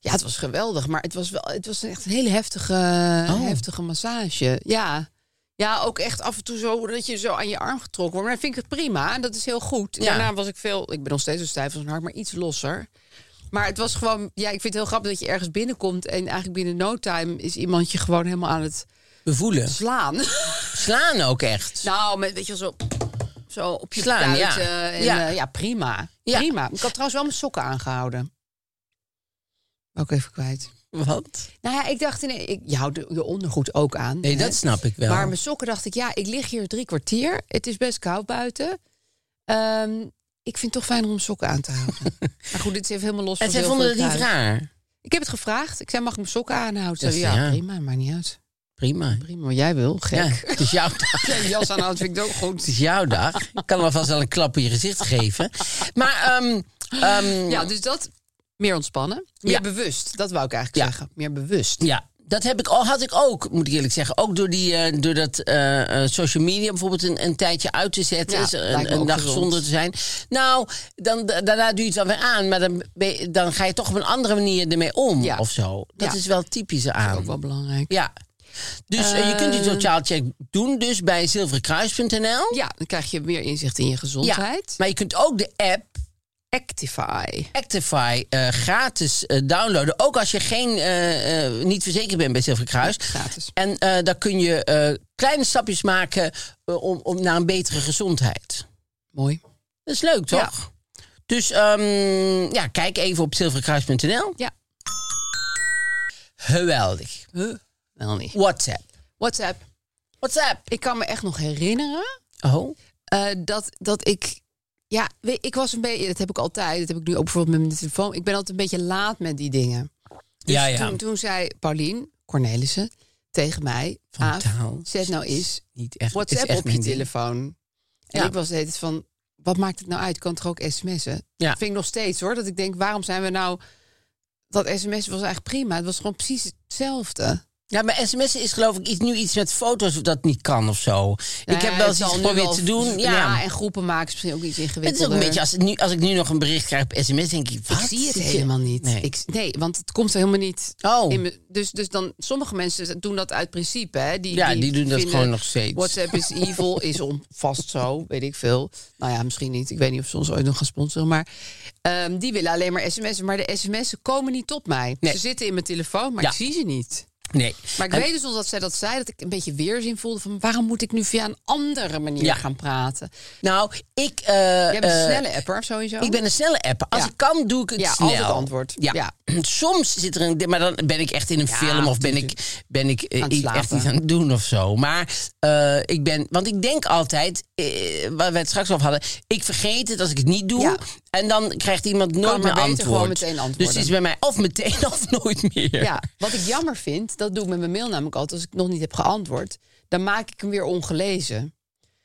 Speaker 4: Ja, het was geweldig, maar het was wel, het was echt een hele heftige, heftige massage. Ja. ja, ook echt af en toe zo dat je zo aan je arm getrokken wordt. Maar dan vind ik het prima en dat is heel goed. En
Speaker 2: Ja.
Speaker 4: Daarna was ik veel, ik ben nog steeds zo stijf als een hart, maar iets losser. Maar het was gewoon, ja, ik vind het heel grappig dat je ergens binnenkomt en eigenlijk binnen no time is iemand je gewoon helemaal aan het
Speaker 2: We voelen.
Speaker 4: slaan.
Speaker 2: Slaan ook echt.
Speaker 4: [LAUGHS] nou, met, weet je wel, zo, zo op je
Speaker 2: Slaan, ja.
Speaker 4: kuiten En,
Speaker 2: Ja.
Speaker 4: ja. ja, prima.
Speaker 2: Ja.
Speaker 4: Prima. Ik had trouwens wel mijn sokken aangehouden. Ook even kwijt.
Speaker 2: Wat?
Speaker 4: Nou ja, ik dacht, nee, ik, je houdt de- je ondergoed ook aan.
Speaker 2: Nee,
Speaker 4: hè?
Speaker 2: dat snap ik wel.
Speaker 4: Maar mijn sokken dacht ik, ja, ik lig hier drie kwartier. Het is best koud buiten. Ehm, ik vind het toch fijn om mijn sokken aan te
Speaker 2: [LAUGHS]
Speaker 4: houden. maar goed, dit is even helemaal los
Speaker 2: en
Speaker 4: van
Speaker 2: zij
Speaker 4: Zilveren
Speaker 2: vonden het niet
Speaker 4: Kruis.
Speaker 2: raar.
Speaker 4: Ik heb het gevraagd. Ik zei, mag ik mijn sokken aanhouden?
Speaker 2: Dat
Speaker 4: Ze
Speaker 2: is-
Speaker 4: zei, ja,
Speaker 2: ja.
Speaker 4: prima, maakt niet uit.
Speaker 2: Prima.
Speaker 4: Prima, wat jij wil,
Speaker 2: Ja,
Speaker 4: gek.
Speaker 2: het is jouw dag.
Speaker 4: [LAUGHS] Ja. jas aanhouden vind ik ook goed.
Speaker 2: Het is jouw dag. Ik kan alvast wel een klap in je gezicht geven. Maar ehm, ehm,
Speaker 4: Ja, dus dat, meer ontspannen. Meer
Speaker 2: Ja.
Speaker 4: bewust, dat wou ik eigenlijk
Speaker 2: Ja.
Speaker 4: zeggen. Meer bewust.
Speaker 2: Ja, dat heb ik, al- had ik ook, moet ik eerlijk zeggen. Ook door, die, eh, door dat eh, eh, social media bijvoorbeeld een, een tijdje uit te zetten.
Speaker 4: Ja,
Speaker 2: is een,
Speaker 4: lijkt me
Speaker 2: een
Speaker 4: ook
Speaker 2: dag
Speaker 4: gezond.
Speaker 2: zonder te zijn. Nou, dan, da- daarna doe je het dan weer aan. Maar dan, ben je- dan ga je toch op een andere manier ermee om
Speaker 4: Ja.
Speaker 2: of zo. Dat
Speaker 4: Ja.
Speaker 2: is wel typisch
Speaker 4: Ook wel
Speaker 2: aan.
Speaker 4: belangrijk.
Speaker 2: Ja. Dus eh, je kunt die totaal check doen dus bij zilverenkruis.nl.
Speaker 4: Ja, dan krijg je meer inzicht in je gezondheid.
Speaker 2: Maar je kunt ook de app
Speaker 4: Actify.
Speaker 2: Actify eh, gratis eh, downloaden. Ook als je geen, eh, eh, niet verzekerd bent bij Zilveren Kruis.
Speaker 4: Gratis.
Speaker 2: En eh dan kun je eh, kleine stapjes maken eh, om, om naar een betere gezondheid.
Speaker 4: Mooi.
Speaker 2: Dat is leuk, toch? Dus ehm, ja, kijk even op zilverenkruis.nl.
Speaker 4: Ja.
Speaker 2: Geweldig.
Speaker 4: Wel niet.
Speaker 2: WhatsApp.
Speaker 4: WhatsApp.
Speaker 2: WhatsApp.
Speaker 4: Ik kan me echt nog herinneren
Speaker 2: Oh,
Speaker 4: eh, dat, dat ik... Ja, weet- ik was een beetje... Dat heb ik altijd. Dat heb ik nu ook bijvoorbeeld met mijn telefoon. Ik ben altijd een beetje laat met die dingen. Dus
Speaker 2: Ja, ja.
Speaker 4: Toen, toen zei Paulien Cornelissen tegen mij...
Speaker 2: Van
Speaker 4: Aaf,
Speaker 2: taal.
Speaker 4: zet nou eens
Speaker 2: niet echt.
Speaker 4: WhatsApp
Speaker 2: is echt
Speaker 4: op je
Speaker 2: mijn ding.
Speaker 4: telefoon. En
Speaker 2: Ja.
Speaker 4: ik was de hele tijd van... Wat maakt het nou uit? Ik kan toch ook sms'en?
Speaker 2: Ja.
Speaker 4: Dat vind ik nog steeds hoor. Dat ik denk, waarom zijn we nou... Dat sms was eigenlijk prima. Het was gewoon precies hetzelfde.
Speaker 2: Ja, maar sms is geloof ik iets, nu iets met foto's of dat niet kan of zo. ik
Speaker 4: Nou
Speaker 2: heb
Speaker 4: ja,
Speaker 2: wel
Speaker 4: het
Speaker 2: eens iets
Speaker 4: zal nu
Speaker 2: geprobeerd
Speaker 4: wel-
Speaker 2: te doen. Ja.
Speaker 4: en groepen maken is misschien ook iets
Speaker 2: het
Speaker 4: ingewikkelder.
Speaker 2: is ook een beetje, als, het nu, als ik nu nog een bericht krijg op sms, denk ik, wat?
Speaker 4: Ik zie het
Speaker 2: Zit je-
Speaker 4: helemaal niet.
Speaker 2: Nee.
Speaker 4: Nee. Ik, nee, want het komt er helemaal niet.
Speaker 2: Oh.
Speaker 4: in me- dus, dus dan, sommige mensen doen dat uit principe. Hè? Die,
Speaker 2: Ja, die doen dat
Speaker 4: vinden
Speaker 2: gewoon nog steeds.
Speaker 4: WhatsApp
Speaker 2: [LAUGHS]
Speaker 4: is evil, is om vast zo, weet ik veel. Nou ja, misschien niet. Ik weet niet of ze ons ooit nog gaan sponsoren. Maar ehm, die willen alleen maar sms'en. Maar de sms'en komen niet op mij.
Speaker 2: Nee.
Speaker 4: Ze zitten in mijn telefoon, maar
Speaker 2: Ja.
Speaker 4: ik zie ze niet.
Speaker 2: Nee.
Speaker 4: Maar ik
Speaker 2: En-
Speaker 4: weet dus nog dat zij dat zei, dat ik een beetje weerzin voelde van waarom moet ik nu via een andere manier
Speaker 2: Ja.
Speaker 4: gaan praten?
Speaker 2: Nou, ik... eh,
Speaker 4: Jij bent een
Speaker 2: eh,
Speaker 4: snelle apper sowieso.
Speaker 2: Ik ben een snelle app. Als
Speaker 4: Ja.
Speaker 2: ik kan, doe ik het
Speaker 4: Ja,
Speaker 2: snel.
Speaker 4: altijd antwoord.
Speaker 2: Ja.
Speaker 4: Ja.
Speaker 2: [CLEARS THROAT] Soms zit er een... Maar dan ben ik echt in een
Speaker 4: Ja,
Speaker 2: film of ben
Speaker 4: tuurlijk.
Speaker 2: ik, ben ik eh,
Speaker 4: Aan het
Speaker 2: iets-
Speaker 4: slapen.
Speaker 2: echt iets aan het doen of zo. Maar eh, ik ben... Want ik denk altijd, eh, waar we het straks over hadden... Ik vergeet het als ik het niet doe.
Speaker 4: Ja.
Speaker 2: En dan krijgt iemand nooit
Speaker 4: maar
Speaker 2: meer
Speaker 4: beter
Speaker 2: antwoord.
Speaker 4: gewoon meteen
Speaker 2: Dus
Speaker 4: antwoorden.
Speaker 2: het is bij mij of meteen [LAUGHS] of nooit meer.
Speaker 4: [LAUGHS] Ja, wat ik jammer vind, dat doe ik met mijn mail namelijk altijd. Als ik nog niet heb geantwoord, dan maak ik hem weer ongelezen.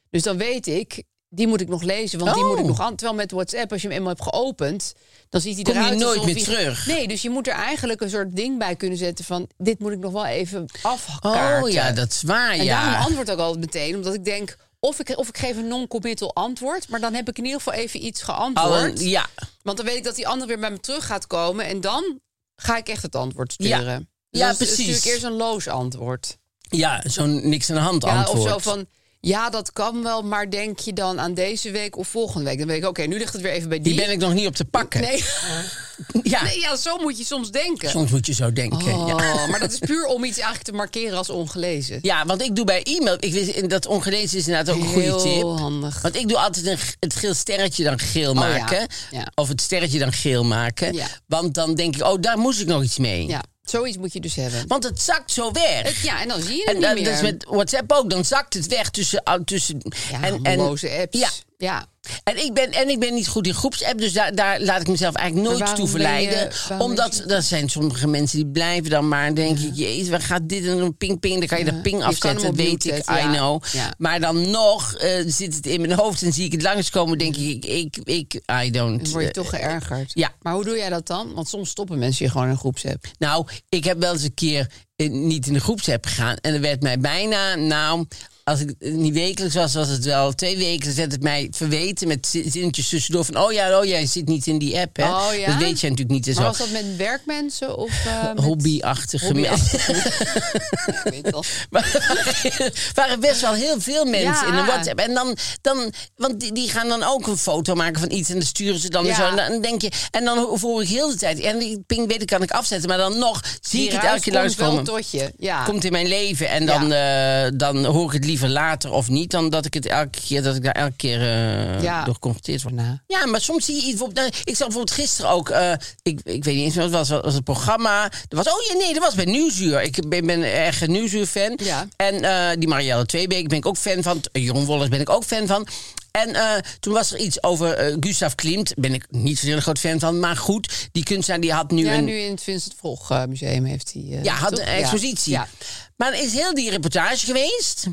Speaker 4: Dus dan weet ik, die moet ik nog lezen, want die
Speaker 2: Oh.
Speaker 4: moet ik nog aan. Terwijl met WhatsApp, als je hem eenmaal hebt geopend, dan ziet hij
Speaker 2: Kom je
Speaker 4: eruit
Speaker 2: nooit
Speaker 4: alsof
Speaker 2: meer
Speaker 4: hij-
Speaker 2: terug.
Speaker 4: Nee, dus je moet er eigenlijk een soort ding bij kunnen zetten van... dit moet ik nog wel even afkaarten.
Speaker 2: Oh ja, dat is waar,
Speaker 4: En daarom
Speaker 2: ja.
Speaker 4: antwoord ik ook altijd meteen, omdat ik denk... Of ik, of ik geef een non-committal antwoord, maar dan heb ik in ieder geval even
Speaker 2: Oh,
Speaker 4: iets
Speaker 2: Al
Speaker 4: geantwoord.
Speaker 2: een- ja,
Speaker 4: Want dan weet ik dat die ander weer bij me terug gaat komen. En dan ga ik echt het antwoord sturen.
Speaker 2: Ja.
Speaker 4: Dus
Speaker 2: Ja,
Speaker 4: dan stu-
Speaker 2: precies.
Speaker 4: stuur ik eerst een loos antwoord.
Speaker 2: ja zo'n niks aan de hand
Speaker 4: Ja,
Speaker 2: antwoord.
Speaker 4: of zo van... Ja, dat kan wel, maar denk je dan aan deze week of volgende week? Dan weet ik, oké, nu ligt het weer even bij die.
Speaker 2: Die ben ik nog niet op te pakken.
Speaker 4: Nee,
Speaker 2: Ja,
Speaker 4: nee, [LAUGHS] ja, zo moet je soms denken.
Speaker 2: soms moet je zo denken.
Speaker 4: Oh,
Speaker 2: ja.
Speaker 4: Maar dat is puur om iets eigenlijk te markeren als ongelezen.
Speaker 2: [LAUGHS] Ja, want ik doe bij e-mail. Ik wist, en dat ongelezen is inderdaad ook een goede
Speaker 4: Heel
Speaker 2: tip.
Speaker 4: handig.
Speaker 2: Want ik doe altijd een, g- het geel sterretje dan geel
Speaker 4: Oh ja.
Speaker 2: maken.
Speaker 4: Ja.
Speaker 2: Of het sterretje dan geel maken.
Speaker 4: Ja.
Speaker 2: Want dan denk ik, oh, daar moest ik nog iets mee.
Speaker 4: Ja, zoiets moet je dus hebben.
Speaker 2: Want het zakt zo weg.
Speaker 4: Het- ja, en dan zie je het
Speaker 2: en dat,
Speaker 4: niet meer.
Speaker 2: dat is met WhatsApp ook. Dan zakt het weg tussen... ah, tussen
Speaker 4: ja,
Speaker 2: en,
Speaker 4: loze apps.
Speaker 2: Ja,
Speaker 4: ja.
Speaker 2: en ik, ben, en ik ben niet goed in groepsapp, dus daar, daar laat ik mezelf eigenlijk nooit
Speaker 4: Maar waarom
Speaker 2: toe verleiden.
Speaker 4: ben je- waarom
Speaker 2: omdat
Speaker 4: is het-
Speaker 2: er zijn sommige mensen die blijven dan maar, denk ik, jezus, waar gaat dit en dan ping ping, dan kan je dat ping
Speaker 4: Je kan
Speaker 2: afzetten,
Speaker 4: hem op
Speaker 2: weet
Speaker 4: mute
Speaker 2: ik,
Speaker 4: zetten,
Speaker 2: I
Speaker 4: ja.
Speaker 2: know.
Speaker 4: Ja.
Speaker 2: Maar dan nog eh, zit het in mijn hoofd en zie ik het langskomen, denk ik, ik, ik, I don't.
Speaker 4: Dan word je
Speaker 2: eh,
Speaker 4: toch geërgerd.
Speaker 2: ja.
Speaker 4: Maar hoe doe jij dat dan? Want soms stoppen mensen je gewoon in een groepsapp.
Speaker 2: Nou, ik heb wel eens een keer eh, niet in de groepsapp gegaan. En er werd mij bijna, nou, als ik eh, niet wekelijks was, was het wel twee weken. Dan werd het mij verweten met zi- zinnetjes tussendoor van... oh ja, oh jij zit niet in die app, hè.
Speaker 4: Oh ja?
Speaker 2: Dat weet je natuurlijk niet. en
Speaker 4: Maar
Speaker 2: zo.
Speaker 4: was dat met werkmensen of eh, met-
Speaker 2: Hobbyachtige [LAUGHS] mensen.
Speaker 4: [LAUGHS] Hobbyachtig. [LAUGHS] Ja, ik weet het al.
Speaker 2: Maar er waren best wel heel veel mensen
Speaker 4: Ja.
Speaker 2: in de WhatsApp. En dan, dan, want die, die gaan dan ook een foto maken van iets en dan sturen ze dan
Speaker 4: Ja.
Speaker 2: zo. En dan denk je, en dan ho- hoor ik heel de tijd. En die ping weet ik, kan ik afzetten. Maar dan nog zie
Speaker 4: Die
Speaker 2: ik het
Speaker 4: ruis
Speaker 2: elke keer
Speaker 4: komt wel
Speaker 2: langskomen.
Speaker 4: tot je. Ja.
Speaker 2: komt in mijn leven. En dan, eh, dan hoor ik het liever later of niet. Dan dat ik het elke keer dat ik daar elke keer eh,
Speaker 4: Ja.
Speaker 2: door geconfronteerd word.
Speaker 4: Daarna.
Speaker 2: Ja, maar soms zie je iets. bijvoorbeeld- nou, Ik zag bijvoorbeeld gisteren ook. eh, ik, ik weet niet eens meer wat het was. was het programma. Er was, oh ja, nee, dat was bij Nieuwsuur. Ik ben, ben erg een Nieuwsuur-fan.
Speaker 4: Ja.
Speaker 2: En eh, die Marielle Tweebeek ben ik ook fan van. Eh, Jeroen Wollers ben ik ook fan van. En eh, toen was er iets over eh, Gustav Klimt. Ben ik niet zo'n heel groot fan van. Maar goed, die kunstenaar die had nu
Speaker 4: ja,
Speaker 2: een
Speaker 4: nu in het Vincent Vroeg eh, Museum heeft hij... eh,
Speaker 2: ja, had
Speaker 4: toch?
Speaker 2: een expositie.
Speaker 4: Ja.
Speaker 2: Maar er is heel die reportage geweest.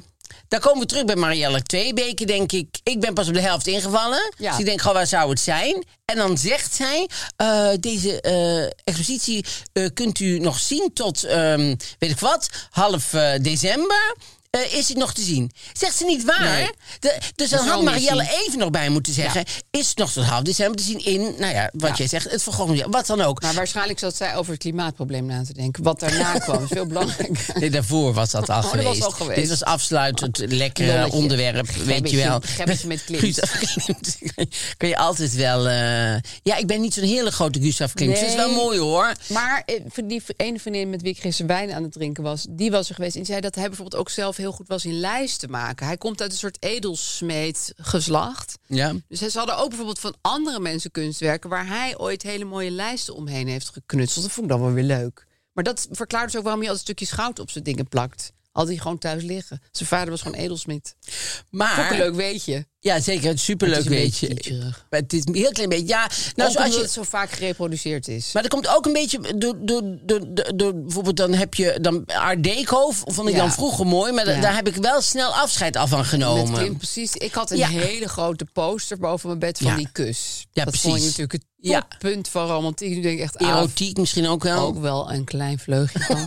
Speaker 2: Daar komen we terug bij Marielle Tweebeke, denk ik. Ik ben pas op de helft ingevallen.
Speaker 4: Ja.
Speaker 2: Dus ik denk, goh, waar zou het zijn? En dan zegt zij, eh, deze eh, expositie eh, kunt u nog zien tot, ehm, weet ik wat, half eh, december. Eh, is het nog te zien? Zegt ze niet waar?
Speaker 4: Nee.
Speaker 2: De- dus dan
Speaker 4: is
Speaker 2: had
Speaker 4: wel meer
Speaker 2: Marielle
Speaker 4: zien.
Speaker 2: even nog bij moeten zeggen... is het nog tot half december te zien in, nou ja, wat
Speaker 4: Ja.
Speaker 2: jij zegt... het vergonnen, wat dan ook.
Speaker 4: Maar waarschijnlijk zat zij over het klimaatprobleem na te denken.
Speaker 2: [LAUGHS]
Speaker 4: Wat daarna kwam, is veel belangrijker.
Speaker 2: Nee, daarvoor was dat al,
Speaker 4: dat was
Speaker 2: geweest.
Speaker 4: al geweest. Oh,
Speaker 2: Dit was afsluitend lekkere
Speaker 4: Lolletje.
Speaker 2: onderwerp, weet je
Speaker 4: Gebbetje,
Speaker 2: wel.
Speaker 4: gebbetje met Klimt.
Speaker 2: Gustav Klimt. [LAUGHS] Kun je altijd wel... eh, Ja, ik ben niet zo'n hele grote Gustav Klimt. Het is
Speaker 4: Nee.
Speaker 2: wel mooi hoor.
Speaker 4: Maar eh, voor die ene vriendin met wie ik gisteren wijn aan het drinken was, die was er geweest. En die zei dat hij bijvoorbeeld ook zelf heel goed was in lijsten maken. Hij komt uit een soort edelsmeed geslacht.
Speaker 2: Ja.
Speaker 4: Dus ze hadden ook bijvoorbeeld van andere mensen kunstwerken waar hij ooit hele mooie lijsten omheen heeft geknutseld. Dat vond ik dan wel weer leuk. Maar dat verklaart dus ook waarom hij altijd stukjes goud op zijn dingen plakt. Had hij gewoon thuis liggen. Zijn vader was gewoon edelsmid. Ook een
Speaker 2: Maar...
Speaker 4: leuk weetje.
Speaker 2: Ja, zeker. Het is superleuk,
Speaker 4: Het is een
Speaker 2: weet je.
Speaker 4: beetje kitscherig.
Speaker 2: Maar het is een heel klein beetje... Ja,
Speaker 4: Nou,
Speaker 2: nou, zoals je...
Speaker 4: het zo vaak gereproduceerd is.
Speaker 2: Maar dat komt ook een beetje door, door, door, door, door- bijvoorbeeld dan heb je dan Art Deco, vond ik
Speaker 4: Ja.
Speaker 2: dan vroeger mooi, maar da-
Speaker 4: Ja.
Speaker 2: daar heb ik wel snel afscheid af van genomen.
Speaker 4: Met Klimt, precies. Ik had een
Speaker 2: Ja.
Speaker 4: hele grote poster boven mijn bed van
Speaker 2: Ja.
Speaker 4: die kus.
Speaker 2: Ja,
Speaker 4: dat
Speaker 2: precies.
Speaker 4: vond je natuurlijk het
Speaker 2: Ja.
Speaker 4: toppunt van romantiek. Nu denk ik echt, ah,
Speaker 2: Erotiek misschien ook wel.
Speaker 4: ook wel een klein vleugje
Speaker 2: [LAUGHS]
Speaker 4: van.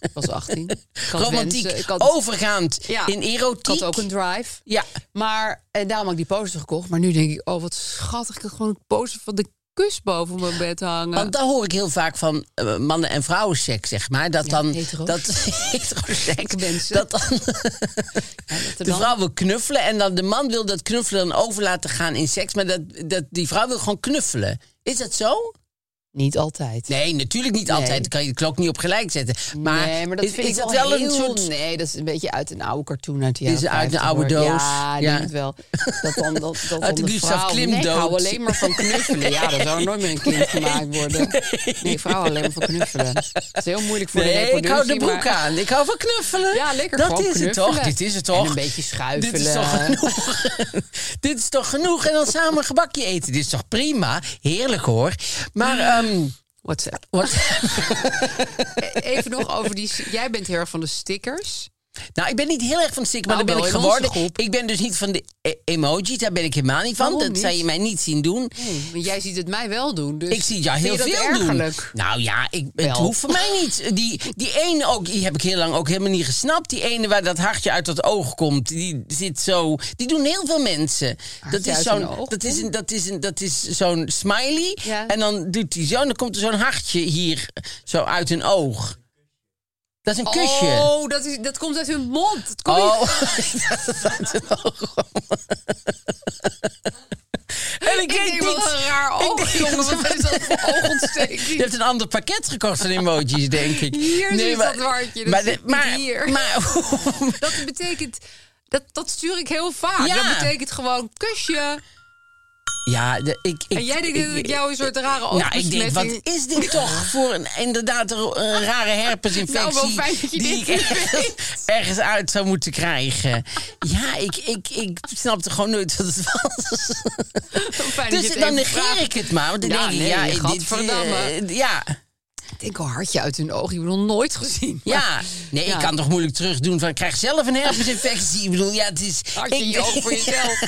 Speaker 4: ik was 18. Ik had
Speaker 2: Romantiek,
Speaker 4: wensen. Ik had,
Speaker 2: overgaand
Speaker 4: Ja.
Speaker 2: in erotiek.
Speaker 4: ik had ook een drive.
Speaker 2: Ja,
Speaker 4: Maar, en daarom had ik die poster gekocht. Maar nu denk ik, oh wat schattig. Ik had gewoon een poster van de kus boven mijn bed hangen.
Speaker 2: want daar hoor ik heel vaak van eh, mannen- en vrouwenseks, zeg maar. Dat dan...
Speaker 4: hetero's.
Speaker 2: Dat, [LAUGHS] heteroseks.
Speaker 4: mensen.
Speaker 2: Dat dan
Speaker 4: Ja, dat er
Speaker 2: de
Speaker 4: dan-
Speaker 2: vrouw wil knuffelen en dan de man wil dat knuffelen dan over laten gaan in seks. Maar dat, dat, die vrouw wil gewoon knuffelen. Is dat zo?
Speaker 4: Niet altijd.
Speaker 2: Nee, natuurlijk niet altijd. Dan kan je de klok niet op gelijk zetten. Maar,
Speaker 4: nee, maar dat
Speaker 2: is,
Speaker 4: vind
Speaker 2: is
Speaker 4: ik
Speaker 2: dat
Speaker 4: wel,
Speaker 2: wel een
Speaker 4: heel-
Speaker 2: soort...
Speaker 4: Nee, dat is een beetje uit een oude cartoon uit de
Speaker 2: Is
Speaker 4: jaren
Speaker 2: uit een
Speaker 4: 50
Speaker 2: oude
Speaker 4: hoor.
Speaker 2: doos.
Speaker 4: Ja, ik
Speaker 2: Ja.
Speaker 4: denk het wel. Dat dan, dat,
Speaker 2: [LAUGHS] Uit
Speaker 4: dat dan
Speaker 2: de
Speaker 4: de,
Speaker 2: Gustav
Speaker 4: vrouw...
Speaker 2: Klimt
Speaker 4: nee, ik hou
Speaker 2: doos.
Speaker 4: alleen maar van knuffelen. Ja, dat zou er nooit meer een kind gemaakt worden.
Speaker 2: [LAUGHS]
Speaker 4: Nee, ik hou alleen maar van knuffelen. Dat is heel moeilijk voor de
Speaker 2: Nee, ik
Speaker 4: reproductie.
Speaker 2: hou de broek
Speaker 4: maar-
Speaker 2: aan. Ik hou van knuffelen.
Speaker 4: Ja, lekker
Speaker 2: Dat
Speaker 4: gewoon
Speaker 2: is
Speaker 4: knuffelen.
Speaker 2: het toch? Dit is het
Speaker 4: En
Speaker 2: toch?
Speaker 4: een beetje schuifelen.
Speaker 2: Dit is toch genoeg? [LAUGHS] Dit is toch genoeg? En dan samen een gebakje eten. Dit is toch prima? Heerlijk hoor. Maar,
Speaker 4: Mm.
Speaker 2: ehm,
Speaker 4: [LAUGHS] WhatsApp.
Speaker 2: wat?
Speaker 4: Even nog over die... Jij bent heel erg van de stickers.
Speaker 2: Nou, ik ben niet heel erg van de stick, maar
Speaker 4: Nou,
Speaker 2: dat ben ik
Speaker 4: wel in onze
Speaker 2: geworden.
Speaker 4: groep.
Speaker 2: Ik ben dus niet van de e- emoji. Daar ben ik helemaal niet van.
Speaker 4: Waarom
Speaker 2: dat
Speaker 4: niet?
Speaker 2: zou je mij niet zien doen.
Speaker 4: Want jij ziet het mij wel doen. Dus
Speaker 2: Ik zie ja
Speaker 4: vind
Speaker 2: heel
Speaker 4: je dat
Speaker 2: veel
Speaker 4: ergerlijk?
Speaker 2: doen. Nou ja, ik, het
Speaker 4: Wel.
Speaker 2: hoeft voor mij niet. Die, die ene ook, die heb ik heel lang ook helemaal niet gesnapt. Die ene waar dat hartje uit dat oog komt, die zit zo. Die doen heel veel mensen. Dat is
Speaker 4: uit
Speaker 2: zo'n,
Speaker 4: een oog
Speaker 2: dat is
Speaker 4: komt?
Speaker 2: een, dat is een, dat is zo'n smiley.
Speaker 4: Ja.
Speaker 2: En dan doet hij zo, en dan komt er zo'n hartje hier zo uit een oog. Dat is een kusje.
Speaker 4: Oh, dat, is, dat komt uit hun mond. Het komt niet-
Speaker 2: Oh, [LAUGHS] dat is uit een oog. En ik,
Speaker 4: Ik
Speaker 2: weet
Speaker 4: denk wel
Speaker 2: niet.
Speaker 4: een raar oog,
Speaker 2: denk-
Speaker 4: jongen. Wat is dat voor
Speaker 2: Je
Speaker 4: oogontsteking?
Speaker 2: hebt een ander pakket gekocht van emojis, denk ik.
Speaker 4: [LAUGHS] Hier zit dat wartje, dat zit niet
Speaker 2: [LAUGHS]
Speaker 4: hier.
Speaker 2: Maar,
Speaker 4: Dat betekent... Dat, dat stuur ik heel vaak.
Speaker 2: Ja.
Speaker 4: Dat betekent gewoon kusje.
Speaker 2: ja, de- ik, ik...
Speaker 4: En jij denkt dat ik jou een soort rare
Speaker 2: Nou, ik
Speaker 4: oogbesmetting...
Speaker 2: denk, wat is dit
Speaker 4: [LAUGHS]
Speaker 2: toch voor een inderdaad een een rare herpesinfectie...
Speaker 4: Nou, wel fijn dat je
Speaker 2: die ik
Speaker 4: [LAUGHS] dit niet
Speaker 2: ergens, [LAUGHS] ergens uit zou moeten krijgen. Ja, ik, ik, ik snapte gewoon nooit wat het was.
Speaker 4: Fijn dat je
Speaker 2: Dus
Speaker 4: het
Speaker 2: dan
Speaker 4: even
Speaker 2: negeer
Speaker 4: vraagt.
Speaker 2: ik het maar. Want dan
Speaker 4: Ja,
Speaker 2: denk ik,
Speaker 4: nee,
Speaker 2: ja, dit...
Speaker 4: gadverdamme.
Speaker 2: eh, ja,
Speaker 4: Ik denk al hartje uit hun oog. Je hebt nog nooit gezien.
Speaker 2: ja. Nee,
Speaker 4: Ja.
Speaker 2: ik kan toch moeilijk terugdoen van... ik krijg zelf een herpesinfectie. Ik bedoel, ja, het is...
Speaker 4: Hartje in
Speaker 2: ik
Speaker 4: je
Speaker 2: [LAUGHS]
Speaker 4: oog voor jezelf.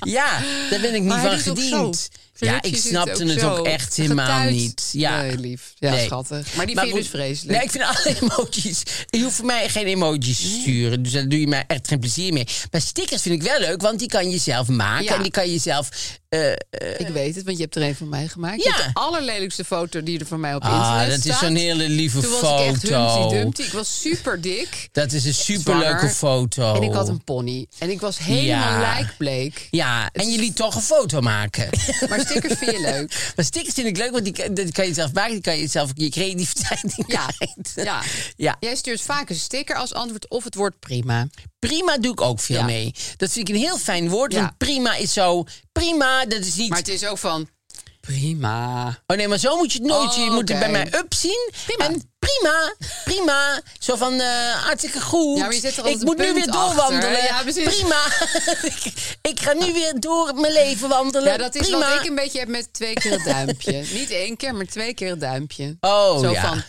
Speaker 2: Ja, daar ben ik niet
Speaker 4: Maar
Speaker 2: van
Speaker 4: hij doet ook
Speaker 2: gediend.
Speaker 4: zo.
Speaker 2: Ja,
Speaker 4: Gelukkig
Speaker 2: ik
Speaker 4: is het
Speaker 2: snapte
Speaker 4: ook
Speaker 2: het
Speaker 4: zo.
Speaker 2: ook echt helemaal
Speaker 4: Getuid.
Speaker 2: niet. Ja.
Speaker 4: Nee, lief. Ja,
Speaker 2: Nee.
Speaker 4: schattig. Maar die vind je dus
Speaker 2: goed,
Speaker 4: vreselijk.
Speaker 2: Nee, ik vind alle [LAUGHS] emojis. Je hoeft voor mij geen emojis te sturen. Dus daar doe je mij echt geen plezier mee. Maar stickers vind ik wel leuk, want die kan je zelf maken.
Speaker 4: Ja.
Speaker 2: En die kan je zelf. eh, eh,
Speaker 4: Ik weet het, want je hebt er een van mij gemaakt.
Speaker 2: Ja.
Speaker 4: Je hebt de allerlelijkste foto die er van mij op
Speaker 2: ah,
Speaker 4: internet
Speaker 2: dat
Speaker 4: staat.
Speaker 2: is zo'n hele lieve
Speaker 4: Toen was
Speaker 2: foto.
Speaker 4: ik echt Humpty Dumpty. Ik was super dik.
Speaker 2: Dat is een superleuke
Speaker 4: Zwanger.
Speaker 2: foto.
Speaker 4: En ik had een pony. En ik was helemaal
Speaker 2: Ja.
Speaker 4: lijkbleek.
Speaker 2: Ja, en je liet toch een foto
Speaker 4: [LAUGHS]
Speaker 2: maken.
Speaker 4: Maar stickers vind je
Speaker 2: [LAUGHS]
Speaker 4: leuk.
Speaker 2: Maar stickers vind ik leuk, want die, kan- die kan je zelf maken. Die kan je zelf je creativiteit in
Speaker 4: Ja.
Speaker 2: kwijt.
Speaker 4: ja.
Speaker 2: Ja.
Speaker 4: Jij stuurt vaak een sticker als antwoord of het woord prima.
Speaker 2: Prima doe ik ook veel
Speaker 4: Ja.
Speaker 2: mee. Dat vind ik een heel fijn woord.
Speaker 4: Ja.
Speaker 2: Want prima is zo. Prima, dat is niet.
Speaker 4: Maar het is ook van prima.
Speaker 2: Oh nee, maar zo moet je het nooit.
Speaker 4: Oh,
Speaker 2: je moet het bij
Speaker 4: oké.
Speaker 2: mij up zien. En prima, prima. Zo van eh hartstikke goed.
Speaker 4: Ja, maar je zet er altijd
Speaker 2: ik
Speaker 4: een
Speaker 2: moet nu
Speaker 4: punt
Speaker 2: weer
Speaker 4: achter.
Speaker 2: doorwandelen.
Speaker 4: Ja, precies.
Speaker 2: prima. [LAUGHS] ik, ik ga nu weer door mijn leven wandelen.
Speaker 4: Ja, dat is
Speaker 2: prima.
Speaker 4: wat ik een beetje heb met twee keer het duimpje. [LAUGHS] Niet één keer, maar twee keer het duimpje.
Speaker 2: Oh,
Speaker 4: Zo
Speaker 2: ja.
Speaker 4: van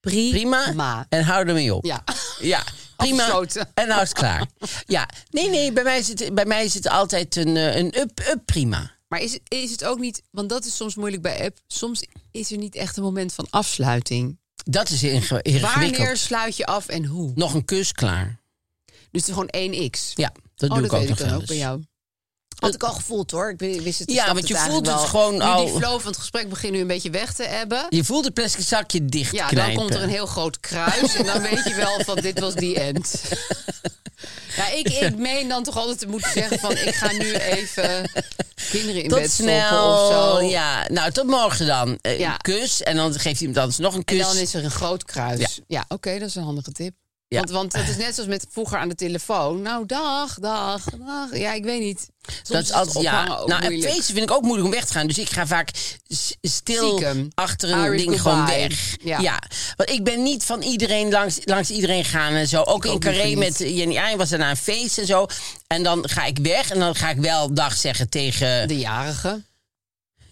Speaker 4: prima.
Speaker 2: Prima. En hou ermee op.
Speaker 4: Ja.
Speaker 2: Ja, prima.
Speaker 4: Afgesloten.
Speaker 2: En nou is het klaar. Ja, nee, nee, bij mij zit, bij mij zit altijd een, eh, een up, up prima.
Speaker 4: Maar is, is het ook niet, want dat is soms moeilijk bij app, soms is er niet echt een moment van afsluiting.
Speaker 2: Dat is inge- ingewikkeld.
Speaker 4: Wanneer sluit je af en hoe?
Speaker 2: Nog een kus klaar.
Speaker 4: Dus het is gewoon één x.
Speaker 2: Ja, dat
Speaker 4: oh,
Speaker 2: doe
Speaker 4: dat
Speaker 2: ik ook
Speaker 4: weet
Speaker 2: nog
Speaker 4: ik dan
Speaker 2: wel
Speaker 4: ook bij
Speaker 2: eens.
Speaker 4: jou. Had ik al gevoeld hoor. Ik wist- wist het. ik
Speaker 2: Ja,
Speaker 4: snapte
Speaker 2: want je
Speaker 4: eigenlijk
Speaker 2: voelt het
Speaker 4: wel.
Speaker 2: gewoon
Speaker 4: Nu
Speaker 2: al.
Speaker 4: die flow van het gesprek begint nu een beetje weg te ebben.
Speaker 2: Je voelt het plastic zakje
Speaker 4: Ja,
Speaker 2: dichtknijpen.
Speaker 4: dan komt er een heel groot kruis en dan weet je wel van dit was
Speaker 2: [LAUGHS]
Speaker 4: die end. Ja, ik, ik meen dan toch altijd te moeten zeggen van ik ga nu even kinderen in
Speaker 2: Tot
Speaker 4: bed stoppen of
Speaker 2: snel.
Speaker 4: zo.
Speaker 2: Ja, nou, tot morgen dan. Eh,
Speaker 4: Ja.
Speaker 2: Een kus. En dan geeft iemand anders nog een
Speaker 4: En
Speaker 2: kus.
Speaker 4: dan is er een groot kruis. Ja, oké, dat is een handige tip.
Speaker 2: Ja.
Speaker 4: Want, want dat is net zoals met vroeger aan de telefoon. Nou, dag, dag, dag. Ja, ik weet niet. Soms
Speaker 2: dat is altijd, ja.
Speaker 4: ophangen ook
Speaker 2: Nou, en
Speaker 4: moeilijk.
Speaker 2: feesten vind ik ook moeilijk om weg te gaan. Dus ik ga vaak s- stil
Speaker 4: Stiekem.
Speaker 2: achter een
Speaker 4: Irish
Speaker 2: ding gewoon
Speaker 4: goodbye.
Speaker 2: weg. Ja.
Speaker 4: Ja.
Speaker 2: Want ik ben niet van iedereen langs, langs iedereen gaan en zo. Ook in
Speaker 4: ook
Speaker 2: Carré
Speaker 4: liever
Speaker 2: met Jenny Ayn was er na een feest en zo. En dan ga ik weg en dan ga ik wel dag zeggen tegen...
Speaker 4: De jarige.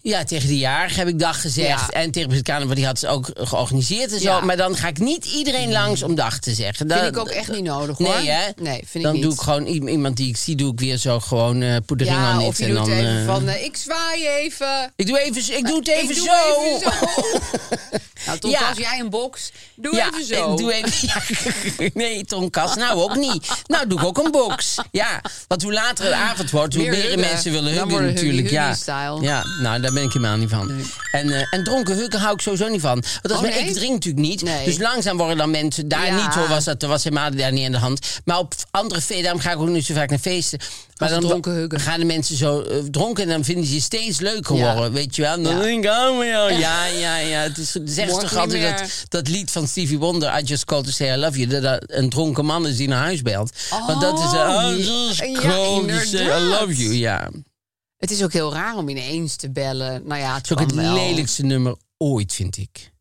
Speaker 2: Ja, tegen de jarige heb ik dag gezegd.
Speaker 4: Ja.
Speaker 2: En tegen Britt Kanen, want die had ze ook georganiseerd en zo.
Speaker 4: Ja. Mm.
Speaker 2: Maar dan ga ik niet iedereen langs om dag te zeggen. Dat,
Speaker 4: Vind ik ook echt niet nodig hoor.
Speaker 2: Nee, hè?
Speaker 4: Nee, vind ik
Speaker 2: dan
Speaker 4: niet.
Speaker 2: doe ik gewoon i- iemand die ik zie, doe ik weer zo gewoon eh poedering aan
Speaker 4: Ja,
Speaker 2: dit.
Speaker 4: of je
Speaker 2: en
Speaker 4: doet
Speaker 2: dan,
Speaker 4: even
Speaker 2: eh,
Speaker 4: van, eh, ik zwaai even.
Speaker 2: ik, doe even, ik doe het even
Speaker 4: ik doe
Speaker 2: zo.
Speaker 4: even
Speaker 2: [LAUGHS]
Speaker 4: zo. nou, toch
Speaker 2: Ja.
Speaker 4: als jij een box, doe
Speaker 2: ja,
Speaker 4: even zo.
Speaker 2: ik doe even. [LAUGHS] Ja, nee, Tonkas, nou ook niet. Nou doe ik ook een box. Ja, want hoe later het avond wordt, hoe
Speaker 4: Meer
Speaker 2: meer
Speaker 4: huggen.
Speaker 2: mensen willen
Speaker 4: Dan
Speaker 2: huggen
Speaker 4: wordt het
Speaker 2: natuurlijk.
Speaker 4: huggy,
Speaker 2: Ja.
Speaker 4: huggy style.
Speaker 2: ja, nou daar ben ik helemaal niet van. En, eh, en dronken huggen hou ik sowieso niet van. Want als
Speaker 4: Oh,
Speaker 2: men-
Speaker 4: nee?
Speaker 2: ik drink natuurlijk niet.
Speaker 4: Nee.
Speaker 2: Dus langzaam worden dan mensen, daar
Speaker 4: Ja.
Speaker 2: niet hoor, was dat, er was helemaal daar niet aan de hand. Maar op andere feesten, daarom ga ik ook niet zo vaak naar feesten. Maar
Speaker 4: Als
Speaker 2: dan
Speaker 4: dronken huggen.
Speaker 2: gaan de mensen zo eh, dronken en dan vinden ze je steeds leuker
Speaker 4: Ja.
Speaker 2: worden, weet je wel. En dan
Speaker 4: Ja.
Speaker 2: denk ik, oh maar ja, ja, ja, ja. Het is, zeg
Speaker 4: Morgen
Speaker 2: toch
Speaker 4: niet
Speaker 2: altijd dat,
Speaker 4: meer.
Speaker 2: dat lied van Stevie Wonder, I Just Called to Say I Love You, dat- dat een dronken man is die naar huis belt. Want dat is
Speaker 4: Oh,
Speaker 2: eh, I Just
Speaker 4: ja,
Speaker 2: Called to Say I
Speaker 4: inderdaad.
Speaker 2: Love You, ja. Het
Speaker 4: Het is ook heel raar om ineens te bellen. Nou ja, het
Speaker 2: is ook het
Speaker 4: kan wel.
Speaker 2: lelijkste nummer ooit, vind ik.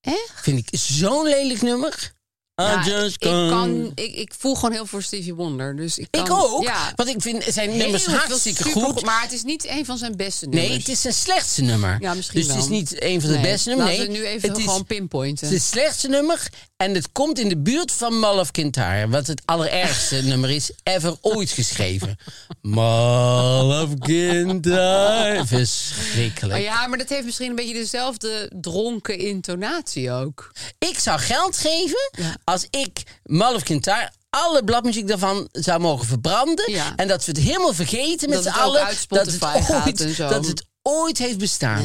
Speaker 4: Echt?
Speaker 2: Vind ik zo'n lelijk nummer. I
Speaker 4: Ja,
Speaker 2: Just
Speaker 4: ik,
Speaker 2: Called-
Speaker 4: kan, ik, ik voel gewoon heel voor Stevie Wonder. Dus ik,
Speaker 2: Ik
Speaker 4: kan,
Speaker 2: ook,
Speaker 4: Ja,
Speaker 2: want ik vind zijn
Speaker 4: Heel
Speaker 2: nummers
Speaker 4: veel
Speaker 2: hartstikke
Speaker 4: supergoed,
Speaker 2: goed.
Speaker 4: Maar het is niet een van zijn beste nummers.
Speaker 2: Nee, het is zijn slechtste nummer.
Speaker 4: Ja, misschien
Speaker 2: dus het is
Speaker 4: wel.
Speaker 2: niet een van de
Speaker 4: Nee,
Speaker 2: beste nummers.
Speaker 4: Laten
Speaker 2: nee,
Speaker 4: we nu even
Speaker 2: het is-
Speaker 4: gewoon pinpointen.
Speaker 2: Het is het slechtste nummer en het komt in de buurt van Mal of Kintyre. Wat het allerergste [LAUGHS] nummer is ever ooit geschreven. Mal of Kintyre. Verschrikkelijk.
Speaker 4: Oh ja, maar dat heeft misschien een beetje dezelfde dronken intonatie ook.
Speaker 2: Ik zou geld geven als ik Mal of Kintyre alle bladmuziek daarvan zou mogen verbranden.
Speaker 4: Ja.
Speaker 2: En dat we het helemaal vergeten met
Speaker 4: Dat
Speaker 2: z'n
Speaker 4: het ook
Speaker 2: allen.
Speaker 4: uit Spotify
Speaker 2: dat, het
Speaker 4: gaat
Speaker 2: ooit,
Speaker 4: en zo.
Speaker 2: dat het ooit heeft bestaan.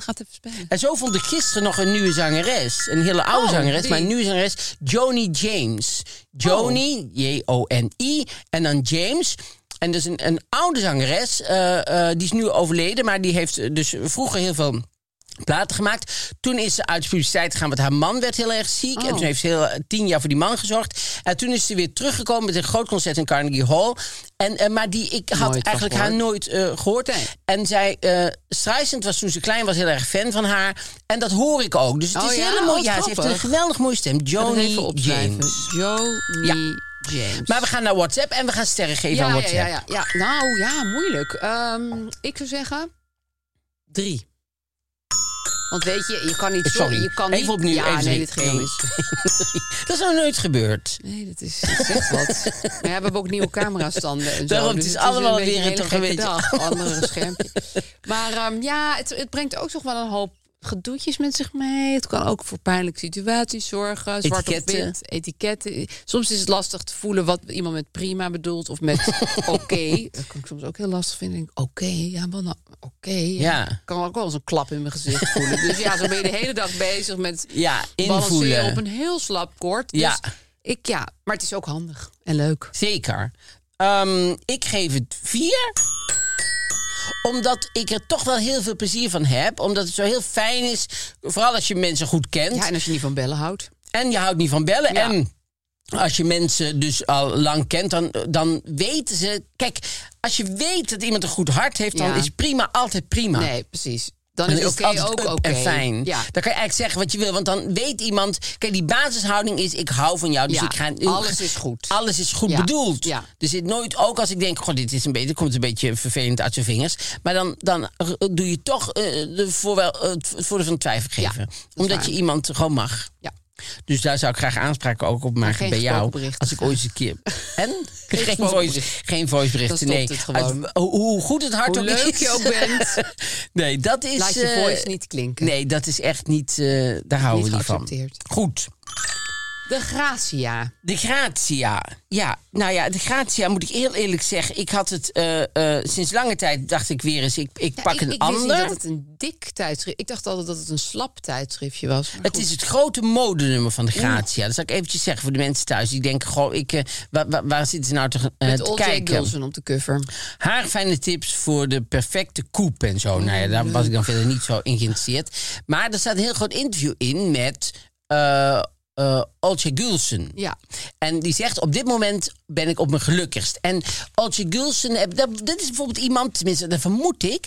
Speaker 4: Gaat even spelen.
Speaker 2: En zo vond ik gisteren nog een nieuwe zangeres. Een hele oude
Speaker 4: Oh,
Speaker 2: zangeres,
Speaker 4: die-
Speaker 2: maar een nieuwe zangeres. Joni James. Joni,
Speaker 4: Oh.
Speaker 2: J-O-N-I. En dan James. En dat is een, een oude zangeres. eh, eh, die is nu overleden, maar die heeft eh, dus vroeger heel veel platen gemaakt. Toen is ze uit de publiciteit gegaan, want haar man werd heel erg ziek.
Speaker 4: Oh.
Speaker 2: En toen heeft ze heel, eh, tien jaar voor die man gezorgd. En toen is ze weer teruggekomen met een groot concert in Carnegie Hall. En, eh, maar die, ik had
Speaker 4: Nooit
Speaker 2: eigenlijk
Speaker 4: van
Speaker 2: haar nooit eh, gehoord. En zij, eh Streisand was toen ze klein was heel erg fan van haar. En dat hoor ik ook. Dus het
Speaker 4: Oh
Speaker 2: is
Speaker 4: ja?
Speaker 2: helemaal...
Speaker 4: Oh,
Speaker 2: ja, ze heeft een
Speaker 4: grappig.
Speaker 2: geweldig mooie stem.
Speaker 4: Johnny
Speaker 2: Joni
Speaker 4: even opschrijven.
Speaker 2: James.
Speaker 4: Joni
Speaker 2: Ja.
Speaker 4: James.
Speaker 2: Maar we gaan naar WhatsApp en we gaan sterren geven aan
Speaker 4: ja, ja,
Speaker 2: WhatsApp.
Speaker 4: ja, ja, ja. Nou ja, moeilijk. Ehm, ik zou zeggen drie. Want weet je, je kan niet... zo-
Speaker 2: Sorry,
Speaker 4: je kan niet,
Speaker 2: even opnieuw.
Speaker 4: Ja,
Speaker 2: even
Speaker 4: nee, dit
Speaker 2: drie.
Speaker 4: ging
Speaker 2: Nee.
Speaker 4: mis.
Speaker 2: [LAUGHS] dat is nog nooit gebeurd.
Speaker 4: Nee, dat is dat
Speaker 2: [LAUGHS]
Speaker 4: zegt wat. Maar ja, we hebben ook nieuwe camerastanden en zo. Dus
Speaker 2: Daarom, het is allemaal weer
Speaker 4: beetje
Speaker 2: toch
Speaker 4: hele
Speaker 2: een
Speaker 4: gekke
Speaker 2: beetje-
Speaker 4: dag. Andere schermpje. Maar ehm, ja, het, het brengt ook toch wel een hoop gedoetjes met zich mee. Het kan ook voor pijnlijke situaties zorgen. Zwart etiketten.
Speaker 2: Etiketten.
Speaker 4: op wit, etiketten. Soms is het lastig te voelen wat iemand met prima bedoelt
Speaker 2: [LAUGHS]
Speaker 4: of met oké. Dat kan ik soms ook heel lastig vinden. Denk ik, Oké, ja, wat nou? Oké.
Speaker 2: Ja.
Speaker 4: Ik kan ook wel eens een klap in mijn gezicht voelen. Dus ja, zo ben je de hele dag bezig met
Speaker 2: Ja,
Speaker 4: balanceren
Speaker 2: invoelen.
Speaker 4: op een heel slap koord. Dus
Speaker 2: Ja.
Speaker 4: ik ja, maar het is ook handig en leuk.
Speaker 2: Zeker. Ehm, ik geef het vier. Omdat ik er toch wel heel veel plezier van heb. Omdat het zo heel fijn is. Vooral als je mensen goed kent.
Speaker 4: Ja, en als je niet van bellen houdt.
Speaker 2: En je houdt niet van bellen.
Speaker 4: Ja.
Speaker 2: En als je mensen dus al lang kent, dan, dan weten ze. Kijk, als je weet dat iemand een goed hart heeft, dan
Speaker 4: Ja.
Speaker 2: is prima altijd prima.
Speaker 4: Nee, precies. Dan
Speaker 2: Ah. Dan
Speaker 4: is oké
Speaker 2: altijd
Speaker 4: ook
Speaker 2: up
Speaker 4: oké.
Speaker 2: en fijn.
Speaker 4: Ja.
Speaker 2: Dan kan je eigenlijk zeggen wat je wil. Want dan weet iemand... Kijk, die basishouding is... ik hou van jou, dus
Speaker 4: Ja,
Speaker 2: ik ga...
Speaker 4: alles is goed.
Speaker 2: Alles is goed
Speaker 4: Ja,
Speaker 2: bedoeld.
Speaker 4: ja.
Speaker 2: Er zit nooit... Ook als ik denk, goh, dit is een beetje... komt een beetje vervelend uit zijn vingers. Maar dan, dan eh, doe je toch eh, de voorwel, eh, het voordeel van de twijfel geven. Omdat
Speaker 4: waar.
Speaker 2: je iemand gewoon mag.
Speaker 4: Ja.
Speaker 2: Dus daar zou ik graag aanspraken ook op maken
Speaker 4: geen
Speaker 2: bij jou.
Speaker 4: gesproken berichten.
Speaker 2: Als ik ooit eens een keer...
Speaker 4: [LAUGHS]
Speaker 2: En? geen,
Speaker 4: gesproken
Speaker 2: voice,
Speaker 4: berichten.
Speaker 2: geen voiceberichten,
Speaker 4: Dan
Speaker 2: nee.
Speaker 4: stopt het gewoon.
Speaker 2: Uit- Oh, hoe- hoe goed het hart
Speaker 4: Hoe
Speaker 2: ook
Speaker 4: leuk
Speaker 2: is.
Speaker 4: je ook bent,
Speaker 2: [LAUGHS] Nee, dat is...
Speaker 4: laat je
Speaker 2: eh,
Speaker 4: voice niet klinken.
Speaker 2: Nee, dat is echt niet. eh, daar houden
Speaker 4: Niet
Speaker 2: we niet van.
Speaker 4: geaccepteerd.
Speaker 2: Goed.
Speaker 4: De gratia.
Speaker 2: De gratia. Ja, nou ja, de gratia moet ik heel eerlijk zeggen. Ik had het eh, eh, sinds lange tijd, dacht ik weer eens, ik, ik
Speaker 4: Ja,
Speaker 2: pak
Speaker 4: ik,
Speaker 2: een
Speaker 4: ik wist
Speaker 2: ander.
Speaker 4: niet dat het een dik tijdschrift... Ik dacht altijd dat het een slap tijdschriftje was. maar
Speaker 2: Het
Speaker 4: goed.
Speaker 2: is het grote modenummer van de Gratia. Dat zal ik eventjes zeggen voor de mensen thuis. Die denken, goh, ik, eh, waar, waar, waar zitten ze nou te, eh,
Speaker 4: Met
Speaker 2: te
Speaker 4: Old Jack
Speaker 2: kijken?
Speaker 4: Wilson op de cover.
Speaker 2: Haar fijne tips voor de perfecte koep en zo. Nou ja, daar was ik dan verder niet zo in geïnteresseerd. Maar er staat een heel groot interview in met eh, eh, eh Olcay Gulsen.
Speaker 4: Ja.
Speaker 2: En die zegt, op dit moment ben ik op mijn gelukkigst. En Olcay Gulsen, eh, dat, dat is bijvoorbeeld iemand, tenminste, dat vermoed ik...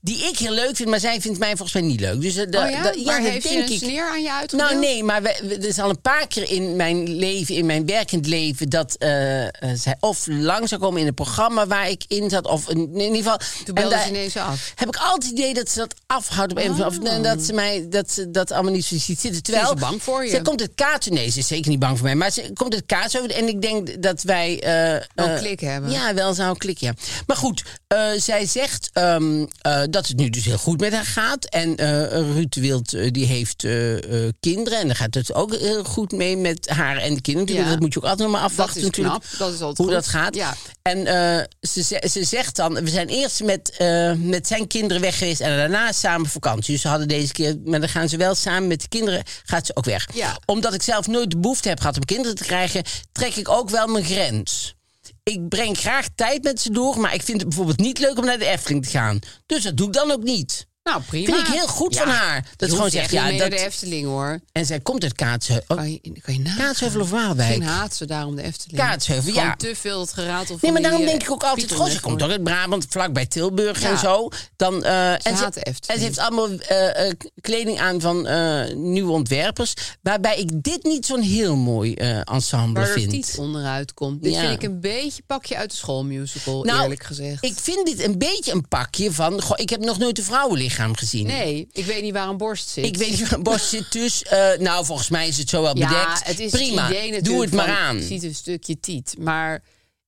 Speaker 2: die ik heel leuk vind, maar zij vindt mij volgens mij niet leuk. Dus, eh, da-
Speaker 4: oh ja?
Speaker 2: da-
Speaker 4: maar
Speaker 2: dat
Speaker 4: heeft je
Speaker 2: denk
Speaker 4: een
Speaker 2: ik.
Speaker 4: sneer aan je uitgedeeld?
Speaker 2: Nou nee, maar we, we- er is al een paar keer in mijn leven, in mijn werkend leven... dat eh, eh, zij of lang zou komen in het programma waar ik in zat... of in, in ieder geval...
Speaker 4: Toen
Speaker 2: en
Speaker 4: belde
Speaker 2: daar-
Speaker 4: ze ineens af. Oh.
Speaker 2: heb ik altijd het idee dat ze dat afhoudt op een of andere En dat ze mij dat, ze dat allemaal niet zo ziet zitten. Terwijl,
Speaker 4: Ze is bang voor je.
Speaker 2: Ze komt het kaatsen. Nee, ze is zeker niet bang voor mij. Maar ze komt het kaatsen over. En ik denk dat wij. eh,
Speaker 4: Wel
Speaker 2: eh,
Speaker 4: klik hebben.
Speaker 2: Ja, wel zou een klik, ja. Maar goed, eh, zij zegt ehm, eh, dat het nu dus heel goed met haar gaat. En eh, Ruud Wild eh, die heeft eh, eh, kinderen. En daar gaat het ook heel goed mee met haar en de kinderen.
Speaker 4: Ja.
Speaker 2: Dat moet je ook altijd nog maar afwachten.
Speaker 4: Dat is knap.
Speaker 2: natuurlijk,
Speaker 4: Dat is altijd
Speaker 2: hoe
Speaker 4: goed.
Speaker 2: dat gaat.
Speaker 4: Ja.
Speaker 2: En eh, ze, ze, ze zegt dan, we zijn eerst met, eh, met zijn kinderen weg geweest en daarna samen vakantie. Dus ze hadden deze keer, maar dan gaan ze wel samen met de kinderen, gaat ze ook weg.
Speaker 4: Ja.
Speaker 2: Omdat ik zelf nooit de behoefte heb gehad om kinderen te krijgen, trek ik ook wel mijn grens. Ik breng graag tijd met ze door, maar ik vind het bijvoorbeeld niet leuk om naar de Efteling te gaan. Dus dat doe ik dan ook niet.
Speaker 4: Nou, prima.
Speaker 2: Vind ik heel goed van haar. Dat
Speaker 4: Dat
Speaker 2: ze gewoon zegt, ja,
Speaker 4: de
Speaker 2: dat,
Speaker 4: Efteling, hoor.
Speaker 2: en zij komt uit oh, Kaatsheuvel.
Speaker 4: Kan je, kan je nagaan.
Speaker 2: Kaatsheuvel of
Speaker 4: Geen
Speaker 2: Waalwijk?
Speaker 4: haat ze daarom de Efteling.
Speaker 2: Kaatsheuvel,
Speaker 4: Gewoon
Speaker 2: ja.
Speaker 4: te veel het geraad of
Speaker 2: Nee, maar daarom denk ik
Speaker 4: eh,
Speaker 2: ook altijd, goh, ze komt toch uit Brabant, vlakbij Tilburg
Speaker 4: Ja.
Speaker 2: en zo. Dan, eh, en,
Speaker 4: haat de
Speaker 2: ze,
Speaker 4: Efteling.
Speaker 2: en ze heeft allemaal eh, eh, kleding aan van eh, nieuwe ontwerpers. Waarbij ik dit niet zo'n heel mooi eh, ensemble
Speaker 4: Waar er
Speaker 2: vind.
Speaker 4: tiet onderuit komt. Dit
Speaker 2: Ja.
Speaker 4: vind ik een beetje pakje uit de schoolmusical,
Speaker 2: Nou,
Speaker 4: eerlijk gezegd.
Speaker 2: Ik vind dit een beetje een pakje van, goh, ik heb nog nooit een vrouwenlichaam gezien.
Speaker 4: Nee, ik weet niet waar een borst zit.
Speaker 2: Ik weet niet [LAUGHS] waar een borst zit, dus eh, nou, volgens mij is het zo wel
Speaker 4: Ja,
Speaker 2: bedekt.
Speaker 4: het is
Speaker 2: Prima,
Speaker 4: het idee
Speaker 2: doe
Speaker 4: natuurlijk
Speaker 2: het maar
Speaker 4: van,
Speaker 2: aan.
Speaker 4: Je ziet een stukje tiet. Maar,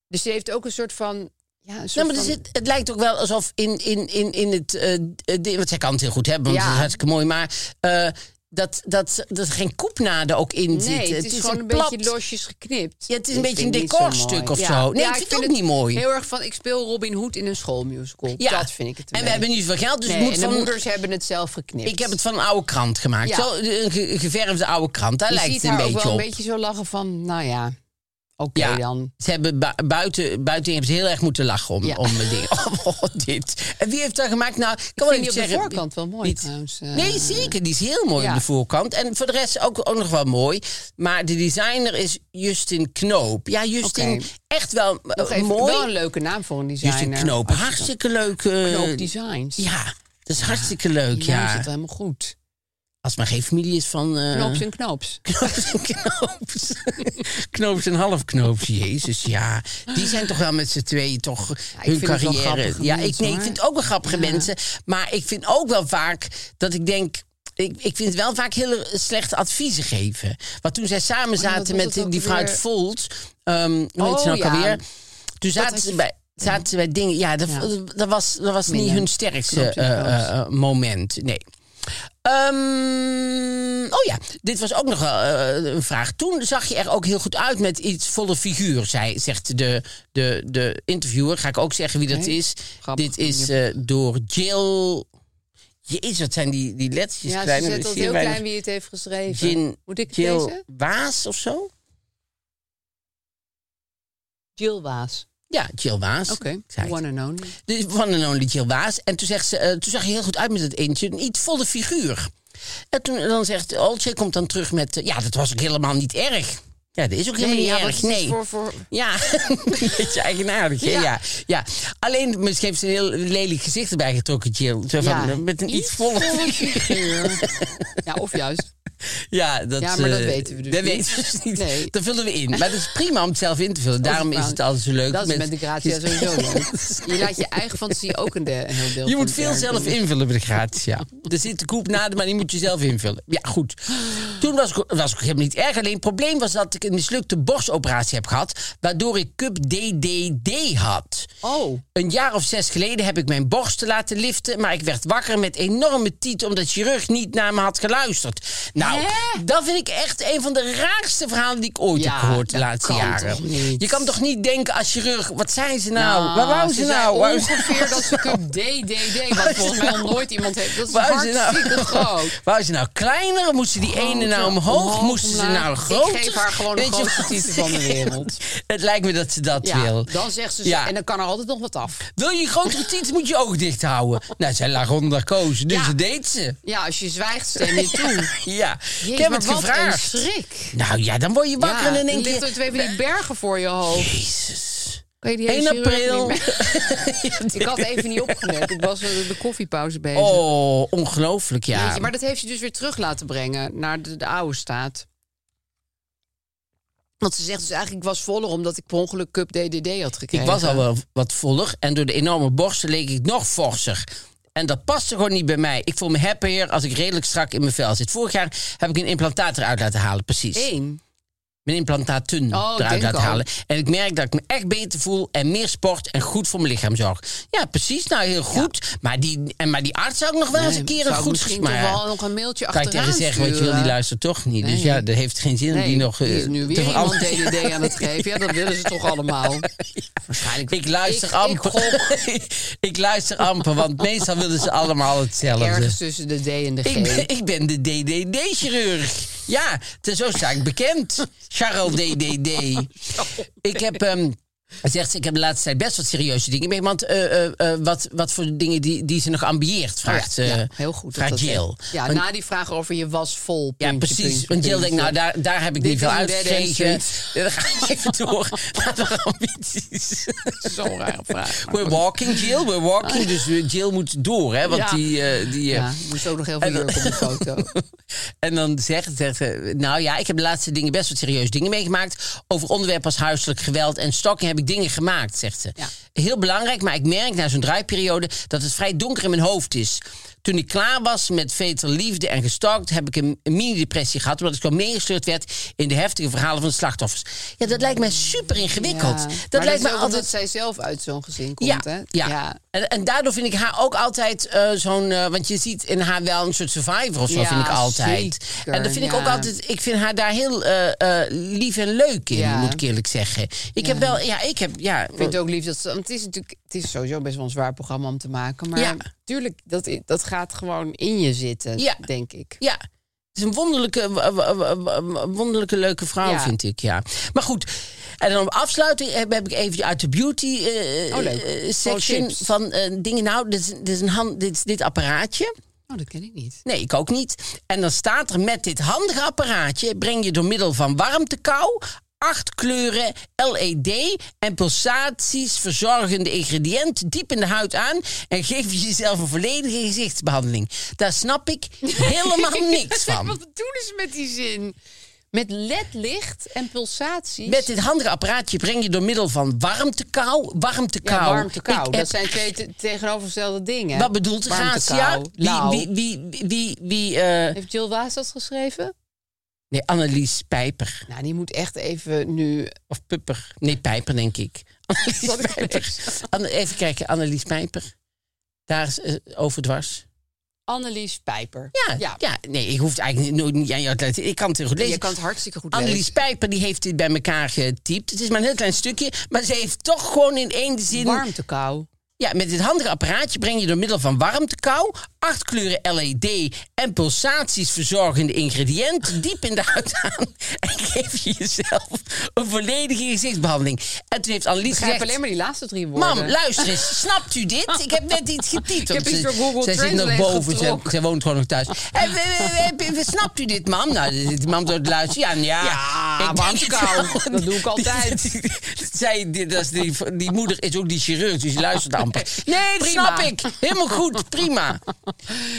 Speaker 4: dus ze heeft ook een soort van... Ja, een soort
Speaker 2: Ja, Nou, maar er
Speaker 4: van-
Speaker 2: zit, het lijkt ook wel alsof in, in, in, in het. eh, eh, ding- want zij kan het heel goed hebben, want
Speaker 4: Ja.
Speaker 2: het is hartstikke mooi. Maar eh, dat, dat, dat er geen koepnaden ook in
Speaker 4: Nee,
Speaker 2: zitten.
Speaker 4: het is, gewoon een beetje losjes geknipt.
Speaker 2: Ja, het is een
Speaker 4: Ik
Speaker 2: beetje
Speaker 4: vind
Speaker 2: een
Speaker 4: het niet zo
Speaker 2: decorstuk
Speaker 4: mooi.
Speaker 2: of zo. Nee, ik vind het ook niet mooi.
Speaker 4: Heel erg van, ik speel Robin Hood in een schoolmusical.
Speaker 2: Ja.
Speaker 4: Dat vind ik het.
Speaker 2: En we
Speaker 4: ermee.
Speaker 2: hebben niet zoveel geld, dus
Speaker 4: Nee,
Speaker 2: het moet
Speaker 4: en
Speaker 2: van.
Speaker 4: de moeders hebben het zelf geknipt.
Speaker 2: Ik heb het van een oude krant gemaakt.
Speaker 4: Ja.
Speaker 2: Zo, een ge- een geverfde oude krant. Daar
Speaker 4: Je
Speaker 2: lijkt
Speaker 4: ziet
Speaker 2: het een
Speaker 4: haar
Speaker 2: beetje
Speaker 4: ook wel
Speaker 2: op.
Speaker 4: een beetje zo lachen van, nou ja, oké
Speaker 2: Ja.
Speaker 4: dan.
Speaker 2: Ze hebben bu- buiten, buiten hebben ze heel erg moeten lachen om,
Speaker 4: Ja.
Speaker 2: om mijn ding. Oh, [LAUGHS] oh, dit. En wie heeft dat gemaakt? Nou, ik kan wel even
Speaker 4: vind die op de
Speaker 2: zeggen.
Speaker 4: voorkant wel mooi
Speaker 2: niet-
Speaker 4: trouwens, eh.
Speaker 2: nee, zeker. Die is heel mooi
Speaker 4: Ja.
Speaker 2: op de voorkant. En voor de rest ook, ook nog wel mooi. Maar de designer is Justin Knoop. Ja, Justin,
Speaker 4: Oké.
Speaker 2: echt wel eh,
Speaker 4: Nog even,
Speaker 2: mooi.
Speaker 4: Wel een leuke naam voor een designer.
Speaker 2: Justin Knoop,
Speaker 4: Als je dan-
Speaker 2: hartstikke leuk. eh,
Speaker 4: Knoop Designs.
Speaker 2: ja, dat is hartstikke leuk,
Speaker 4: Ja,
Speaker 2: ja.
Speaker 4: zit helemaal goed.
Speaker 2: Als maar geen familie is van... eh,
Speaker 4: Knoops en knoops.
Speaker 2: Knoops en [LAUGHS] knoops. knoops en halfknoops, jezus, ja. Die zijn toch wel met z'n tweeën toch hun
Speaker 4: vind het wel
Speaker 2: carrière.
Speaker 4: grappige
Speaker 2: Ja, ik,
Speaker 4: mensen,
Speaker 2: nee, ik
Speaker 4: hoor.
Speaker 2: vind het ook wel grappige mensen. Maar ik vind ook wel vaak dat ik denk... Ik, ik vind wel vaak heel slechte adviezen geven. Want toen zij samen
Speaker 4: Oh, ja, wat
Speaker 2: zaten
Speaker 4: was
Speaker 2: met
Speaker 4: het ook
Speaker 2: die, die vrouw uit
Speaker 4: weer?
Speaker 2: Volt... ehm hoe heet ze nou
Speaker 4: Oh, ja.
Speaker 2: alweer? Toen zaten
Speaker 4: had
Speaker 2: ze
Speaker 4: je-
Speaker 2: bij... Zaten ze bij dingen. Ja, dat,
Speaker 4: Ja.
Speaker 2: dat was, dat was niet
Speaker 4: Minder.
Speaker 2: hun sterkste
Speaker 4: Knoops en
Speaker 2: eh,
Speaker 4: knoops.
Speaker 2: eh, eh, moment. Nee. Ehm, oh ja, dit was ook nog wel eh, een vraag. Toen zag je er ook heel goed uit met iets volle figuur, zei, zegt de, de, de interviewer. Ga ik ook zeggen wie dat
Speaker 4: Oké,
Speaker 2: is.
Speaker 4: grappig.
Speaker 2: Dit is eh, door Jill... Jezus, wat zijn die, die lettertjes
Speaker 4: Ja, ze
Speaker 2: klein. Er
Speaker 4: zet
Speaker 2: is
Speaker 4: al
Speaker 2: hier
Speaker 4: heel
Speaker 2: weinig-
Speaker 4: klein wie het heeft geschreven.
Speaker 2: Jin,
Speaker 4: Moet ik
Speaker 2: Jill
Speaker 4: lezen?
Speaker 2: Waas of zo?
Speaker 4: Jill Waas.
Speaker 2: Ja, Jill Waas.
Speaker 4: Oké,
Speaker 2: Ik zei het.
Speaker 4: one and only.
Speaker 2: Dus van een only Jill Waas. En toen, zegt ze, eh, toen zag je heel goed uit met dat eentje. Een iets volle figuur. En toen dan zegt Olcay, komt dan terug met... eh, ja, dat was ook helemaal niet erg. Ja, dat is ook helemaal niet
Speaker 4: ja, wat
Speaker 2: erg.
Speaker 4: is het
Speaker 2: Nee.
Speaker 4: Voor, voor...
Speaker 2: Ja, [LAUGHS] een beetje eigenaardig. hè?
Speaker 4: Ja.
Speaker 2: Ja. Ja. Alleen misschien heeft ze een heel lelijk gezicht erbij getrokken, Jill. Zo van, eh, Met een iets volle...
Speaker 4: figuur. ja, of juist.
Speaker 2: [LAUGHS] Ja, dat,
Speaker 4: Ja, maar dat
Speaker 2: eh,
Speaker 4: weten we dus
Speaker 2: dat
Speaker 4: niet.
Speaker 2: weten we dus niet.
Speaker 4: Nee.
Speaker 2: Dat vullen we in. Maar dat is prima om het zelf in te vullen. Daarom is het altijd zo leuk.
Speaker 4: Dat is met de
Speaker 2: [LAUGHS]
Speaker 4: gratia sowieso leuk. Je laat je eigen fantasie ook een, de, een heel deel
Speaker 2: Je
Speaker 4: van
Speaker 2: moet
Speaker 4: het
Speaker 2: veel
Speaker 4: werk
Speaker 2: zelf
Speaker 4: doen.
Speaker 2: invullen bij de gratis, ja. [LAUGHS] Er zit de koep nader, maar die moet je zelf invullen. Ja, goed. Toen was ik, was ik helemaal niet erg. Alleen het probleem was dat ik een mislukte borstoperatie heb gehad... waardoor ik cup DDD had.
Speaker 4: Oh,
Speaker 2: Een jaar of zes geleden heb ik mijn borsten laten liften... maar ik werd wakker met enorme tiet... omdat de chirurg niet naar me had geluisterd. Nou,
Speaker 4: Hè?
Speaker 2: dat vind ik echt een van de raarste verhalen... die ik ooit
Speaker 4: Ja,
Speaker 2: heb gehoord de
Speaker 4: dat
Speaker 2: laatste
Speaker 4: kan
Speaker 2: jaren.
Speaker 4: toch niet?
Speaker 2: Je kan toch niet denken als chirurg... wat zijn ze nou? Waar wou ze,
Speaker 4: zei
Speaker 2: nou? Wou ze-
Speaker 4: ongeveer dat ze
Speaker 2: [LAUGHS]
Speaker 4: cup DDD, wat volgens mij nog nooit iemand heeft. Dat is
Speaker 2: nou? Wou ze,
Speaker 4: hartstikke
Speaker 2: nou,
Speaker 4: [LAUGHS]
Speaker 2: [LAUGHS]
Speaker 4: groot.
Speaker 2: wou ze nou kleiner? Moest ze die ene nou omhoog?
Speaker 4: omhoog,
Speaker 2: moesten ze
Speaker 4: omlaag.
Speaker 2: nou
Speaker 4: Ik
Speaker 2: groter?
Speaker 4: geef haar gewoon de
Speaker 2: Weet je
Speaker 4: grootste
Speaker 2: wat?
Speaker 4: titel van de wereld.
Speaker 2: [LAUGHS] Het lijkt me dat ze dat
Speaker 4: Ja,
Speaker 2: wil.
Speaker 4: dan zegt ze,
Speaker 2: Ja.
Speaker 4: en dan kan er altijd nog wat af.
Speaker 2: Wil je een grotere titel, moet je je ogen dicht houden. Nou, zij lag onder haar koos, dus
Speaker 4: Ja.
Speaker 2: dat deed ze.
Speaker 4: Ja, als je zwijgt, stem je
Speaker 2: [LAUGHS]
Speaker 4: toe.
Speaker 2: Ja, ik
Speaker 4: Jezus,
Speaker 2: heb
Speaker 4: maar
Speaker 2: het
Speaker 4: wat
Speaker 2: gevraagd.
Speaker 4: een schrik.
Speaker 2: Nou ja, dan word je wakker en dan denk
Speaker 4: ligt
Speaker 2: je...
Speaker 4: er twee van die bergen voor je hoofd.
Speaker 2: Jezus.
Speaker 4: Kan je die
Speaker 2: 1
Speaker 4: hele chirurg
Speaker 2: april.
Speaker 4: niet meer-
Speaker 2: [LAUGHS]
Speaker 4: Ik had even niet opgemerkt. Ik was met de koffiepauze bezig.
Speaker 2: Oh, ongelooflijk, ja.
Speaker 4: Jeetje, maar dat heeft ze dus weer terug laten brengen naar de, de oude staat. Want ze zegt dus eigenlijk, ik was voller omdat ik per ongeluk cup DDD had
Speaker 2: ik
Speaker 4: gekregen.
Speaker 2: was al wel wat voller en door de enorme borsten leek ik nog forser. En dat paste gewoon niet bij mij. Ik voel me happier als ik redelijk strak in mijn vel zit. Vorig jaar heb ik een implantaat eruit laten halen, precies.
Speaker 4: Eén.
Speaker 2: Mijn implantaten
Speaker 4: Oh, ik
Speaker 2: eruit
Speaker 4: denk
Speaker 2: laten
Speaker 4: al.
Speaker 2: halen. En ik merk dat ik me echt beter voel en meer sport en goed voor mijn lichaam zorg. Ja, precies. Nou, heel goed. Maar, die, en, maar die arts zou ik nog wel eens een keer een
Speaker 4: Zou ik
Speaker 2: goed
Speaker 4: misschien
Speaker 2: gesprek...
Speaker 4: toch wel nog een mailtje
Speaker 2: kan je
Speaker 4: achteraan
Speaker 2: tegen zeggen, want je wil
Speaker 4: sturen?
Speaker 2: die luistert toch niet. Dus
Speaker 4: Nee.
Speaker 2: ja, dat heeft geen zin om
Speaker 4: Nee,
Speaker 2: die nog eh,
Speaker 4: is nu weer
Speaker 2: te
Speaker 4: iemand
Speaker 2: veranderen.
Speaker 4: DDD aan het geven. Ja, dat willen ze toch
Speaker 2: [LAUGHS]
Speaker 4: allemaal. Waarschijnlijk.
Speaker 2: Ik luister
Speaker 4: Ik- Ik
Speaker 2: amper.
Speaker 4: gok
Speaker 2: [LAUGHS] Ik, luister amper, want meestal willen ze allemaal hetzelfde.
Speaker 4: ergens tussen de D en de G.
Speaker 2: Ik ben, ik ben de DDD-chirurg. Ja, ten zo sta ik bekend. Charles
Speaker 4: [LAUGHS]
Speaker 2: DDD. Ik heb... ehm, Zegt ze, ik heb de laatste tijd best wat serieuze dingen mee. Want eh, eh, eh, wat, wat voor dingen die, die ze nog ambieert, vraagt,
Speaker 4: Oh ja, ja,
Speaker 2: eh,
Speaker 4: heel goed. dat
Speaker 2: vraagt
Speaker 4: dat-
Speaker 2: Jill.
Speaker 4: Ja,
Speaker 2: Want-
Speaker 4: na die vraag over je was vol.
Speaker 2: ja,
Speaker 4: puntje,
Speaker 2: precies.
Speaker 4: puntje,
Speaker 2: want Jill denkt,
Speaker 4: puntje.
Speaker 2: nou,
Speaker 4: [LAUGHS]
Speaker 2: daar, daar heb ik niet
Speaker 4: Dit
Speaker 2: veel
Speaker 4: is een dead end
Speaker 2: uitgegeven. [LAUGHS]
Speaker 4: street.
Speaker 2: Dan ga ik even door [LAUGHS] naar de ambities.
Speaker 4: Zo'n rare vraag. maar
Speaker 2: We're
Speaker 4: goed.
Speaker 2: walking, Jill. We're walking. Dus eh, Jill moet door, hè? Want
Speaker 4: Ja.
Speaker 2: die. eh, die eh,
Speaker 4: Ja, er moest ook nog heel veel jurk op de foto.
Speaker 2: [LAUGHS] En dan zegt, zegt ze, nou ja, ik heb de laatste dingen best wat serieuze dingen meegemaakt. Over onderwerpen als huiselijk geweld en stalking heb ik dingen gemaakt, zegt ze.
Speaker 4: Ja.
Speaker 2: Heel belangrijk, maar ik merk na zo'n draaiperiode dat het vrij donker in mijn hoofd is. Toen ik klaar was met veter liefde en gestalkt, heb ik een, een mini-depressie gehad. Omdat ik gewoon meegesleurd werd in de heftige verhalen van de slachtoffers. Ja, dat lijkt mij super ingewikkeld.
Speaker 4: Ja.
Speaker 2: Dat
Speaker 4: maar
Speaker 2: lijkt
Speaker 4: dat
Speaker 2: me
Speaker 4: is ook
Speaker 2: altijd
Speaker 4: omdat zij zelf uit zo'n gezin komt,
Speaker 2: ja,
Speaker 4: hè?
Speaker 2: Ja. En, en daardoor vind ik haar ook altijd eh, zo'n... eh, want je ziet in haar wel een soort survivor of zo,
Speaker 4: Ja,
Speaker 2: vind ik altijd.
Speaker 4: zeker,
Speaker 2: en dat vind ik
Speaker 4: ja.
Speaker 2: ook altijd... Ik vind haar daar heel eh, eh, lief en leuk in,
Speaker 4: Ja.
Speaker 2: moet ik eerlijk zeggen. Ik heb wel... Ja, ik heb... Ja,
Speaker 4: Ik vind het ook lief dat ze... Want het is natuurlijk... Het is sowieso best wel een zwaar programma om te maken. Maar
Speaker 2: Ja.
Speaker 4: tuurlijk, dat, i- dat gaat gewoon in je zitten,
Speaker 2: Ja.
Speaker 4: denk ik.
Speaker 2: ja. Het is een wonderlijke, w- w- w- wonderlijke leuke vrouw,
Speaker 4: Ja.
Speaker 2: vind ik, ja. Maar goed, en dan op afsluiting heb, heb ik even uit de beauty eh,
Speaker 4: Oh, leuk.
Speaker 2: eh,
Speaker 4: Oh,
Speaker 2: section
Speaker 4: tips.
Speaker 2: van eh, dingen. Nou, dit is, dit is, een hand, dit, is dit apparaatje.
Speaker 4: Oh, dat ken ik niet.
Speaker 2: Nee, ik ook niet. En dan staat er met dit handige apparaatje... breng je door middel van warmtekou, acht kleuren, LED... en pulsaties verzorgende ingrediënten diep in de huid aan... en geef je jezelf een volledige gezichtsbehandeling. Daar snap ik
Speaker 4: [LAUGHS]
Speaker 2: helemaal [LAUGHS] niks
Speaker 4: Wat
Speaker 2: van.
Speaker 4: bedoelen ze met die zin? Met ledlicht en pulsaties?
Speaker 2: Met dit handige apparaatje breng je door middel van warmtekou...
Speaker 4: ja,
Speaker 2: warmtekou.
Speaker 4: warmte kou.
Speaker 2: Ik
Speaker 4: Dat
Speaker 2: heb-
Speaker 4: zijn twee te- tegenovergestelde dingen.
Speaker 2: Wat bedoelt de
Speaker 4: Warmte,
Speaker 2: Gracia?
Speaker 4: kou, Nou.
Speaker 2: Wie,
Speaker 4: lauw.
Speaker 2: wie, wie, wie, wie, eh,
Speaker 4: Heeft Jill Waas dat geschreven?
Speaker 2: Nee, Annelies Pijper.
Speaker 4: Nou, die moet echt even nu...
Speaker 2: Of Pupper. Nee, Pijper, denk ik. [LAUGHS] Annelies
Speaker 4: Zal ik het
Speaker 2: Pijper.
Speaker 4: lezen?
Speaker 2: Anne- Even kijken, Annelies Pijper. Daar is eh, over dwars.
Speaker 4: Annelies Pijper.
Speaker 2: Ja, ja. nee, ik hoef het eigenlijk nooit niet aan jou te laten. Ik kan het heel goed lezen.
Speaker 4: Je kan het hartstikke goed
Speaker 2: Annelies
Speaker 4: lezen.
Speaker 2: Pijper die heeft dit bij elkaar getypt. Het is maar een heel klein stukje. Maar ze heeft toch gewoon in één zin...
Speaker 4: Warmtekou.
Speaker 2: Ja, met dit handige apparaatje breng je door middel van warmtekou, acht kleuren LED en pulsaties verzorgende ingrediënten diep in de huid aan. [LAUGHS] En geef je jezelf een volledige gezichtsbehandeling. En toen heeft Annelies
Speaker 4: Ik heb
Speaker 2: gezegd...
Speaker 4: alleen maar die laatste drie woorden.
Speaker 2: Mam, luister eens. Snapt u dit? Ik heb net iets
Speaker 4: [LAUGHS]
Speaker 2: getypt.
Speaker 4: heb
Speaker 2: Want
Speaker 4: iets
Speaker 2: ze-
Speaker 4: door Google
Speaker 2: Zij zit nog
Speaker 4: Translate
Speaker 2: boven. Ze,
Speaker 4: getrokken.
Speaker 2: zij woont gewoon nog thuis. Eh, En, snapt u dit, mam? Nou, die mam door het luisteren. Ja, nou ja.
Speaker 4: Ja,
Speaker 2: ik
Speaker 4: warmte
Speaker 2: denk
Speaker 4: kou.
Speaker 2: het wel.
Speaker 4: Dat doe ik altijd.
Speaker 2: Die- die- [LAUGHS] Zij, die, dat is die, die moeder is ook die chirurg, dus die luistert
Speaker 4: [LAUGHS]
Speaker 2: amper. Nee, dat
Speaker 4: Prima.
Speaker 2: snap ik. Helemaal goed. Prima.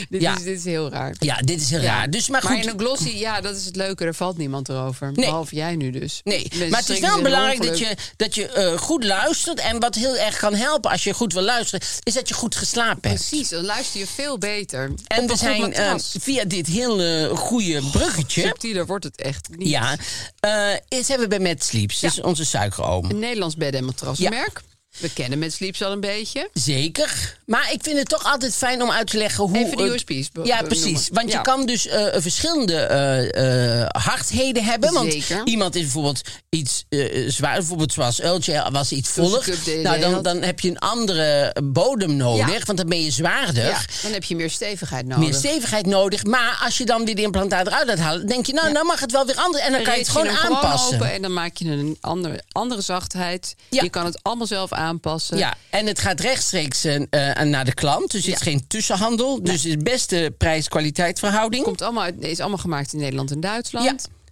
Speaker 4: Dit,
Speaker 2: Ja.
Speaker 4: is, dit is heel raar.
Speaker 2: Ja, dit is heel raar. Dus, maar goed.
Speaker 4: Maar in een glossy, ja, dat is het leuke. Er valt niemand erover. Behalve jij nu dus.
Speaker 2: Nee,
Speaker 4: Mensen
Speaker 2: maar het is
Speaker 4: schrikken
Speaker 2: wel
Speaker 4: zich
Speaker 2: belangrijk dat
Speaker 4: ongeluk.
Speaker 2: je, dat je eh, goed luistert. En wat heel erg kan helpen als je goed wil luisteren, is dat je goed geslapen hebt.
Speaker 4: Precies, dan luister je veel beter.
Speaker 2: En
Speaker 4: Op
Speaker 2: we
Speaker 4: een goed
Speaker 2: zijn eh,
Speaker 4: matras.
Speaker 2: via dit hele goede bruggetje.
Speaker 4: Subtieler wordt het echt niet.
Speaker 2: Ja, eh, is hebben we bij Mad Sleeps. Dat is onze suikeroom.
Speaker 4: Een Nederlands bed- en matrasmerk. We kennen met Sleeps al een beetje.
Speaker 2: Zeker. Maar ik vind het toch altijd fijn om uit te leggen hoe...
Speaker 4: Even de
Speaker 2: het-
Speaker 4: USP's be-
Speaker 2: eh, Ja,
Speaker 4: be-
Speaker 2: precies.
Speaker 4: noemen.
Speaker 2: Want je
Speaker 4: Ja.
Speaker 2: kan dus eh, verschillende eh, eh, hardheden hebben. Want
Speaker 4: Zeker.
Speaker 2: iemand is bijvoorbeeld iets eh, zwaar. Bijvoorbeeld zoals Uiltje was iets
Speaker 4: Toen ze
Speaker 2: voller.
Speaker 4: Cup DDD
Speaker 2: Nou, dan,
Speaker 4: had.
Speaker 2: dan heb je een andere bodem nodig. Want dan ben je zwaarder.
Speaker 4: Ja, dan heb je meer stevigheid nodig.
Speaker 2: meer stevigheid nodig. Maar als je dan weer de implantaat eruit laat halen, denk je, nou, nou mag het wel weer anders. En dan kan je het
Speaker 4: Reet
Speaker 2: gewoon
Speaker 4: hem
Speaker 2: aanpassen.
Speaker 4: open en dan maak je een andere, andere zachtheid.
Speaker 2: Ja.
Speaker 4: Je kan het allemaal zelf aanpassen.
Speaker 2: Ja, en het gaat rechtstreeks eh, eh, naar de klant. Dus er is
Speaker 4: Ja.
Speaker 2: geen tussenhandel. Dus het is beste prijs-kwaliteit verhouding.
Speaker 4: Komt allemaal uit, is allemaal gemaakt in Nederland en Duitsland.
Speaker 2: Ja.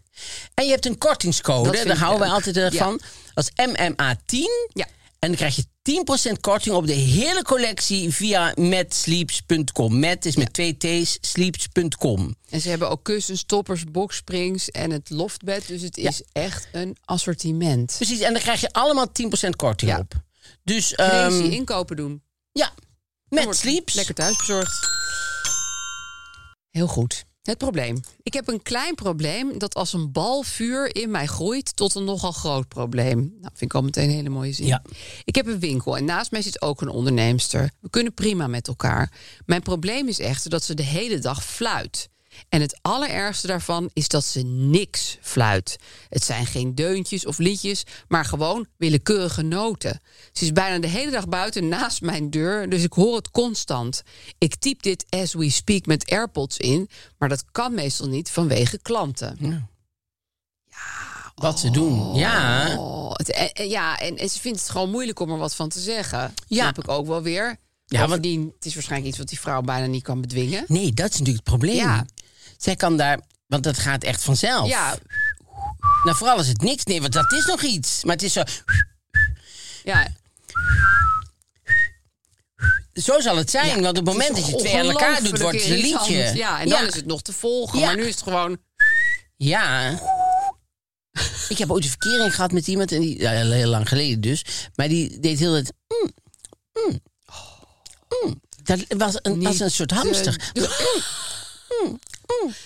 Speaker 2: En je hebt een kortingscode.
Speaker 4: Dat vind
Speaker 2: Daar
Speaker 4: ik
Speaker 2: houden wij
Speaker 4: leuk.
Speaker 2: altijd erg
Speaker 4: Ja.
Speaker 2: van. Als MMA10.
Speaker 4: Ja.
Speaker 2: En dan krijg je 10% korting op de hele collectie via matsleeps.com. Mat is met twee T's, sleeps.com.
Speaker 4: En ze hebben ook kussens, toppers, boksprings en het loftbed. Dus het is echt een assortiment.
Speaker 2: Precies, en dan krijg je allemaal 10% korting
Speaker 4: Ja.
Speaker 2: op. Dus
Speaker 4: Geen
Speaker 2: ehm,
Speaker 4: zie inkopen doen.
Speaker 2: ja,
Speaker 4: Dan
Speaker 2: met
Speaker 4: wordt
Speaker 2: sleeps.
Speaker 4: Lekker thuisbezorgd. Heel goed. Het probleem. Ik heb een klein probleem dat als een bal vuur in mij groeit tot een nogal groot probleem. Nou, vind ik al meteen een hele mooie zin.
Speaker 2: Ja.
Speaker 4: Ik heb een winkel en naast mij zit ook een onderneemster. We kunnen prima met elkaar. Mijn probleem is echter dat ze de hele dag fluit. En het allerergste daarvan is dat ze niks fluit. Het zijn geen deuntjes of liedjes, maar gewoon willekeurige noten. Ze is bijna de hele dag buiten naast mijn deur, dus ik hoor het constant. Ik typ dit as we speak met AirPods in, maar dat kan meestal niet vanwege klanten.
Speaker 2: Wat ze doen, ja.
Speaker 4: Oh, het- en- en- ja, en, en ze vindt het gewoon moeilijk om er wat van te zeggen. Ja.
Speaker 2: Ja.
Speaker 4: Snap ik ook wel weer.
Speaker 2: Ja,
Speaker 4: Ja,
Speaker 2: want-
Speaker 4: Bovendien, het is waarschijnlijk iets wat die vrouw bijna niet kan bedwingen.
Speaker 2: Nee, dat is natuurlijk het probleem.
Speaker 4: Ja.
Speaker 2: Zij kan daar, want dat gaat echt vanzelf.
Speaker 4: Ja,
Speaker 2: Nou, vooral is het niks. Nee, want dat is nog iets. Maar het is zo,
Speaker 4: ja,
Speaker 2: zo zal het zijn. want op het moment dat je twee aan elkaar doet, wordt het een
Speaker 4: Ongelooflijk
Speaker 2: liedje.
Speaker 4: irritant. Ja, en dan is het nog te volgen.
Speaker 2: Ja.
Speaker 4: Maar nu is het gewoon...
Speaker 2: Ja. [LAUGHS] Ik heb ooit een verkering gehad met iemand, en die, ja, heel heel lang geleden dus, maar die deed heel het. mm, mm, mm. Dat was een, was een
Speaker 4: eh,
Speaker 2: soort hamster.
Speaker 4: Mm.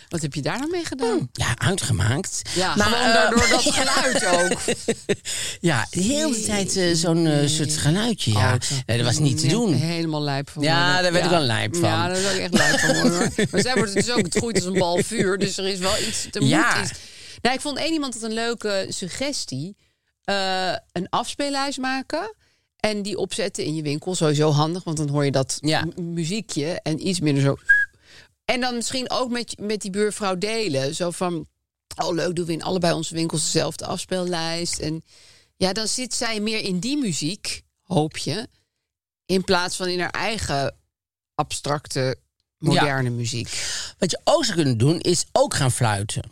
Speaker 4: Wat heb je daar nou mee gedaan?
Speaker 2: Ja, uitgemaakt.
Speaker 4: Ja,
Speaker 2: maar,
Speaker 4: gewoon
Speaker 2: Mm. eh,
Speaker 4: daardoor
Speaker 2: [LAUGHS]
Speaker 4: dat geluid ook.
Speaker 2: Ja, de hele tijd eh, zo'n eh, soort geluidje. Ja. nee, Oh, dat was niet te
Speaker 4: Ja,
Speaker 2: doen.
Speaker 4: Helemaal lijp van
Speaker 2: Ja,
Speaker 4: worden.
Speaker 2: daar werd ik wel lijp van.
Speaker 4: Ja, daar werd ik echt lijp van
Speaker 2: [LAUGHS]
Speaker 4: worden, hoor. Maar zij wordt het dus ook, het groeit als een bal vuur. Dus er is wel iets, er
Speaker 2: Ja.
Speaker 4: moet iets. Nou, ik vond één iemand had een leuke suggestie. Eh, een afspeellijst maken. En die opzetten in je winkel. Sowieso handig, want dan hoor je dat
Speaker 2: Ja.
Speaker 4: mu- muziekje. En iets minder zo... En dan misschien ook met, met die buurvrouw delen. Zo van, oh leuk, doen we in allebei onze winkels dezelfde afspeellijst. En ja, dan zit zij meer in die muziek, hoop je. In plaats van in haar eigen abstracte, moderne muziek.
Speaker 2: Wat je ook zou kunnen doen, is ook gaan fluiten.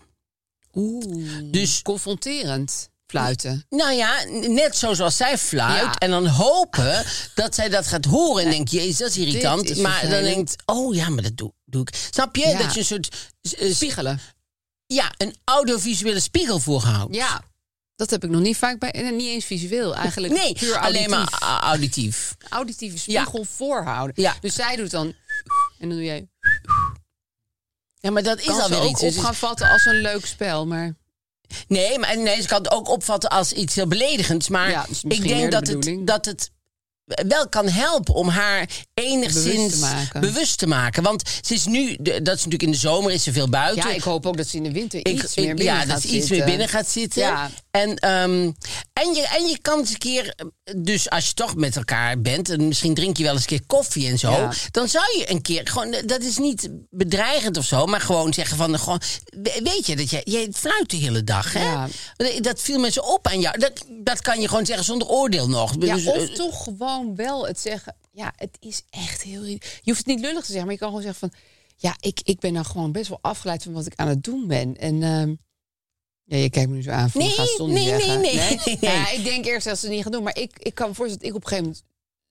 Speaker 4: Oeh.
Speaker 2: Dus-
Speaker 4: Dus confronterend fluiten.
Speaker 2: Nou ja, n- net zo zoals zij fluit.
Speaker 4: Ja.
Speaker 2: En dan hopen dat zij dat gaat horen. En denkt, jezus, dat is irritant.
Speaker 4: is
Speaker 2: maar dan
Speaker 4: vervelend.
Speaker 2: denkt, oh ja, maar dat doe, doe ik. Snap je?
Speaker 4: Ja.
Speaker 2: Dat je een soort... eh,
Speaker 4: Spiegelen.
Speaker 2: Ja, een audiovisuele spiegel voorhoudt.
Speaker 4: Ja, dat heb ik nog niet vaak bij. En niet eens visueel eigenlijk.
Speaker 2: Nee,
Speaker 4: puur
Speaker 2: alleen maar
Speaker 4: auditief.
Speaker 2: a- auditief.
Speaker 4: auditieve spiegel voorhouden.
Speaker 2: Ja.
Speaker 4: Dus zij doet dan... En dan doe jij...
Speaker 2: Ja, maar dat is
Speaker 4: kan ze
Speaker 2: alweer
Speaker 4: ook
Speaker 2: iets.
Speaker 4: op
Speaker 2: Dus het-
Speaker 4: gaan vatten als een leuk spel, maar...
Speaker 2: Nee, maar nee, ze kan het ook opvatten als iets heel beledigends. Maar
Speaker 4: Ja, dat is
Speaker 2: ik
Speaker 4: misschien
Speaker 2: denk
Speaker 4: meer de
Speaker 2: dat het,
Speaker 4: bedoeling.
Speaker 2: dat het wel kan helpen om haar enigszins
Speaker 4: Bewust te maken.
Speaker 2: bewust te maken. Want ze is nu, de- dat is natuurlijk in de zomer, is ze veel buiten.
Speaker 4: Ja, ik hoop ook dat ze in de winter
Speaker 2: Ik-
Speaker 4: iets
Speaker 2: ik-
Speaker 4: meer binnen
Speaker 2: ja,
Speaker 4: gaat
Speaker 2: dat ze iets
Speaker 4: zitten.
Speaker 2: meer binnen gaat zitten.
Speaker 4: Ja.
Speaker 2: En, ehm, en, je, en je kan eens een keer, eh, dus als je toch met elkaar bent, en misschien drink je wel eens een keer koffie en zo,
Speaker 4: Ja.
Speaker 2: dan zou je een keer gewoon, eh, dat is niet bedreigend of zo, maar gewoon zeggen van, eh, gewoon, we- weet je dat jij, jij fluit de hele dag, hè?
Speaker 4: Ja.
Speaker 2: Dat viel mensen op aan jou. Dat, dat kan je gewoon zeggen zonder oordeel nog.
Speaker 4: Ja,
Speaker 2: Dus,
Speaker 4: of
Speaker 2: eh,
Speaker 4: toch gewoon wel het zeggen... Ja, het is echt heel... irri- Je hoeft het niet lullig te zeggen, maar je kan gewoon zeggen van... Ja, ik, ik ben nou gewoon best wel afgeleid van wat ik aan het doen ben. En ehm, ja, je kijkt me nu zo aan van...
Speaker 2: Nee,
Speaker 4: gaat Ton
Speaker 2: nee,
Speaker 4: niet
Speaker 2: nee,
Speaker 4: zeggen.
Speaker 2: nee, nee, [LAUGHS] nee.
Speaker 4: Ja, ik denk eerst dat ze het niet gaan doen. Maar ik, ik kan me voorstellen dat ik op een gegeven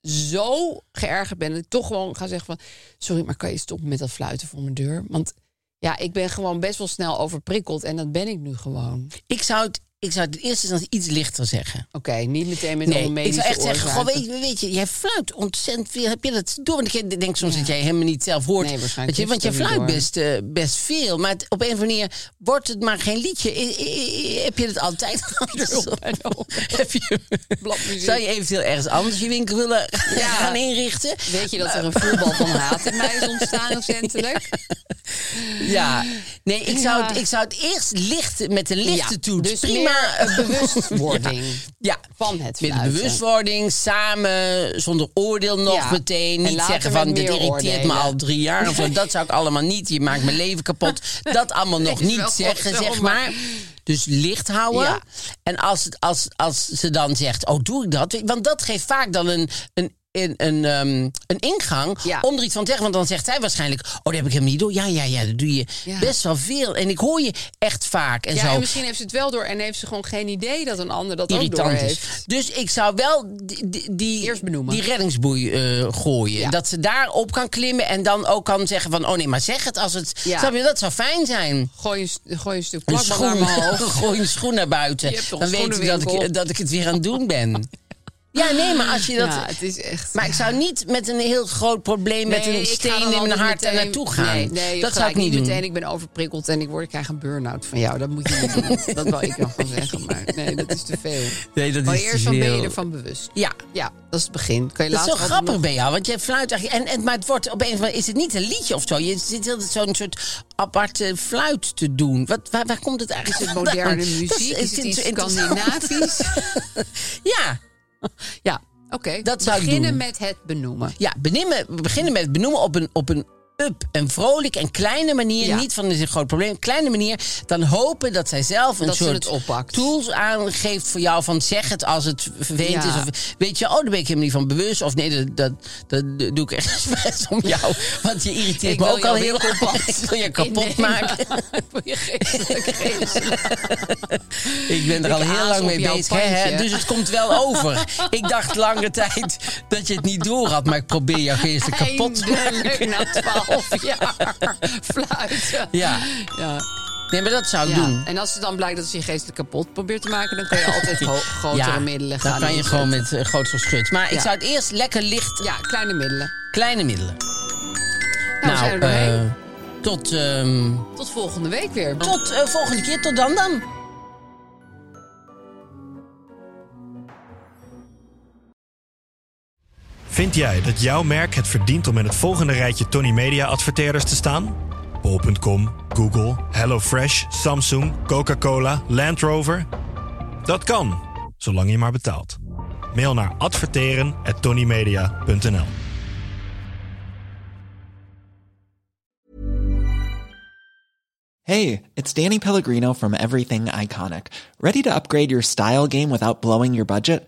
Speaker 4: moment zo geërgerd ben... dat ik toch gewoon ga zeggen van... Sorry, maar kan je stoppen met dat fluiten voor mijn deur? Want ja, ik ben gewoon best wel snel overprikkeld. En dat ben ik nu gewoon.
Speaker 2: ik zou het, ik zou het in eerste instantie iets lichter zeggen.
Speaker 4: Oké, niet meteen met
Speaker 2: Nee,
Speaker 4: allemaal
Speaker 2: ik
Speaker 4: medische
Speaker 2: zou echt zeggen, goh,
Speaker 4: oorzaken.
Speaker 2: weet, je- weet je, jij fluit ontzettend veel. Heb je dat door? Want ik denk soms dat jij helemaal niet zelf hoort.
Speaker 4: Nee, waarschijnlijk
Speaker 2: dat je, want
Speaker 4: heeft
Speaker 2: je
Speaker 4: het er
Speaker 2: fluit
Speaker 4: niet
Speaker 2: best, eh, best veel. Maar het- op een of andere manier wordt het maar geen liedje. I- i- i- heb je het
Speaker 4: [LAUGHS]
Speaker 2: altijd anders? [LAUGHS] Heb je,
Speaker 4: nou Bladmuziek.
Speaker 2: zou je eventueel ergens anders je winkel willen
Speaker 4: [LAUGHS]
Speaker 2: gaan inrichten?
Speaker 4: Nou. Weet je dat er een voetbal van haat in mij is ontstaan recentelijk?
Speaker 2: Ja, nee, ik zou, het,
Speaker 4: Ja.
Speaker 2: ik zou het eerst licht, met de lichte toets.
Speaker 4: dus meer [LAUGHS]
Speaker 2: prima.
Speaker 4: eh,
Speaker 2: [LAUGHS]
Speaker 4: bewustwording
Speaker 2: Ja,
Speaker 4: van het
Speaker 2: met
Speaker 4: fluiten.
Speaker 2: bewustwording, samen, zonder oordeel nog
Speaker 4: Ja.
Speaker 2: meteen.
Speaker 4: En
Speaker 2: Niet
Speaker 4: later
Speaker 2: zeggen van,
Speaker 4: met
Speaker 2: dit
Speaker 4: meer
Speaker 2: irriteert me
Speaker 4: oordelen.
Speaker 2: al drie jaar of
Speaker 4: [LAUGHS]
Speaker 2: zo. Dat zou ik allemaal niet, je maakt mijn leven kapot. Dat allemaal nog
Speaker 4: is
Speaker 2: niet
Speaker 4: wel
Speaker 2: zeggen,
Speaker 4: zo,
Speaker 2: zeg
Speaker 4: maar-
Speaker 2: maar. Dus licht houden.
Speaker 4: Ja.
Speaker 2: En als, het, als, als ze dan zegt, oh, doe ik dat? Want dat geeft vaak dan een... een een, een, ehm, een ingang
Speaker 4: Ja.
Speaker 2: om er iets van te zeggen. Want dan zegt zij waarschijnlijk... oh, dat heb ik helemaal niet door. Ja, ja, ja, dat doe je
Speaker 4: Ja.
Speaker 2: best wel veel. En ik hoor je echt vaak. En
Speaker 4: Ja,
Speaker 2: zo.
Speaker 4: en misschien heeft ze het wel door en heeft ze gewoon geen idee dat een ander dat ook
Speaker 2: irritant
Speaker 4: door
Speaker 2: is.
Speaker 4: heeft.
Speaker 2: Dus ik zou wel die, die- die,
Speaker 4: Eerst benoemen.
Speaker 2: die reddingsboei eh, gooien.
Speaker 4: Ja.
Speaker 2: Dat ze daarop kan klimmen en dan ook kan zeggen van... oh nee, maar zeg het als het...
Speaker 4: Ja.
Speaker 2: Snap je, dat zou fijn zijn.
Speaker 4: Gooi een, st- gooi een stuk
Speaker 2: Een
Speaker 4: plakband naar
Speaker 2: schoen,
Speaker 4: mijn hoofd.
Speaker 2: [LAUGHS] gooi een schoen naar buiten.
Speaker 4: Je hebt toch
Speaker 2: Dan
Speaker 4: een
Speaker 2: weet ik dat, ik
Speaker 4: schoenenwinkel?
Speaker 2: dat ik het weer aan het doen ben. Ja, nee, maar als je dat...
Speaker 4: Ja, het is echt...
Speaker 2: Maar ik zou niet met een heel groot probleem... met
Speaker 4: Nee,
Speaker 2: een
Speaker 4: ik ga
Speaker 2: steen
Speaker 4: dan
Speaker 2: in mijn
Speaker 4: altijd
Speaker 2: hart daar
Speaker 4: meteen-
Speaker 2: naartoe gaan.
Speaker 4: Nee, nee, je
Speaker 2: dat zou
Speaker 4: gelijk
Speaker 2: ik niet doen.
Speaker 4: meteen. Ik ben overprikkeld en ik, word, ik krijg een burn-out van jou. Dat moet je niet
Speaker 2: [LAUGHS]
Speaker 4: doen. dat wil ik nog wel zeggen, maar nee, dat is te veel.
Speaker 2: Nee, [LAUGHS] dat
Speaker 4: Maar
Speaker 2: is dus te
Speaker 4: eerst dan ben je
Speaker 2: veel.
Speaker 4: ervan bewust.
Speaker 2: Ja.
Speaker 4: Ja, dat is het begin. Kan je
Speaker 2: Dat is
Speaker 4: later
Speaker 2: zo
Speaker 4: altijd
Speaker 2: grappig
Speaker 4: nog-
Speaker 2: bij jou, want je fluit eigenlijk... En, en, maar het wordt op een of andere is het niet een liedje of zo. Je zit heel zo'n soort aparte fluit te doen. Wat, waar, waar komt het eigenlijk
Speaker 4: Is het
Speaker 2: vandaan?
Speaker 4: moderne
Speaker 2: [LAUGHS] Dat
Speaker 4: muziek? Is het
Speaker 2: vind ik
Speaker 4: iets
Speaker 2: zo interessant.
Speaker 4: Scandinavisch?
Speaker 2: [LAUGHS] Ja,
Speaker 4: Ja, oké.
Speaker 2: Dat zou ik
Speaker 4: Beginnen
Speaker 2: doen.
Speaker 4: met het benoemen.
Speaker 2: ja benoemen- we beginnen met benoemen op een... Op een up en vrolijk en kleine manier,
Speaker 4: Ja.
Speaker 2: niet van dit is een groot probleem, kleine manier, dan hopen dat zij zelf een
Speaker 4: Dat ze
Speaker 2: soort
Speaker 4: het oppakt.
Speaker 2: tools aangeeft voor jou van zeg het als het vervelend
Speaker 4: Ja.
Speaker 2: is. Of weet je, oh, daar ben ik helemaal niet van bewust. Of nee, dat, dat, dat, doe ik echt [LAUGHS] expres om jou, want je irriteert
Speaker 4: Ik
Speaker 2: me
Speaker 4: wil
Speaker 2: ook
Speaker 4: jou
Speaker 2: al
Speaker 4: weer
Speaker 2: heel [LAUGHS]
Speaker 4: kapot.
Speaker 2: Ik wil je kapot
Speaker 4: Nee,
Speaker 2: maken.
Speaker 4: maar- [LAUGHS] Ik wil
Speaker 2: [LAUGHS]
Speaker 4: je geestelijk geestelijk.
Speaker 2: Ik ben er
Speaker 4: Ik
Speaker 2: al heel
Speaker 4: aas
Speaker 2: lang
Speaker 4: op
Speaker 2: mee
Speaker 4: jouw
Speaker 2: bezig. hè, hè,
Speaker 4: pandje.
Speaker 2: dus het komt wel over. [LAUGHS] ik dacht lange tijd dat je het niet door had, maar ik probeer jou geestelijk kapot te maken. [LAUGHS]
Speaker 4: Eindelijk na twaalf jaar fluiten.
Speaker 2: Ja.
Speaker 4: ja.
Speaker 2: Nee, maar dat zou ik
Speaker 4: Ja,
Speaker 2: doen.
Speaker 4: En als het dan blijkt dat ze je geestelijk kapot probeert te maken, dan kun
Speaker 2: [LAUGHS]
Speaker 4: je altijd ho- grotere middelen gaan.
Speaker 2: Dan kan je
Speaker 4: inzetten.
Speaker 2: gewoon met eh, groot verschut. Maar ik
Speaker 4: Ja.
Speaker 2: zou het eerst lekker licht,
Speaker 4: Ja, kleine middelen.
Speaker 2: kleine middelen.
Speaker 4: Nou, we zijn er doorheen.
Speaker 2: eh, tot, ehm,
Speaker 4: Tot volgende week weer.
Speaker 2: tot eh, volgende keer. Tot dan dan.
Speaker 5: Vind jij dat jouw merk het verdient om in het volgende rijtje Tony Media adverteerders te staan? Bol.com, Google, HelloFresh, Samsung, Coca-Cola, Land Rover? Dat kan, zolang je maar betaalt. Mail naar adverteren@tonymedia.nl.
Speaker 6: Hey, it's Danny Pellegrino from Everything Iconic. Ready to upgrade your style game without blowing your budget?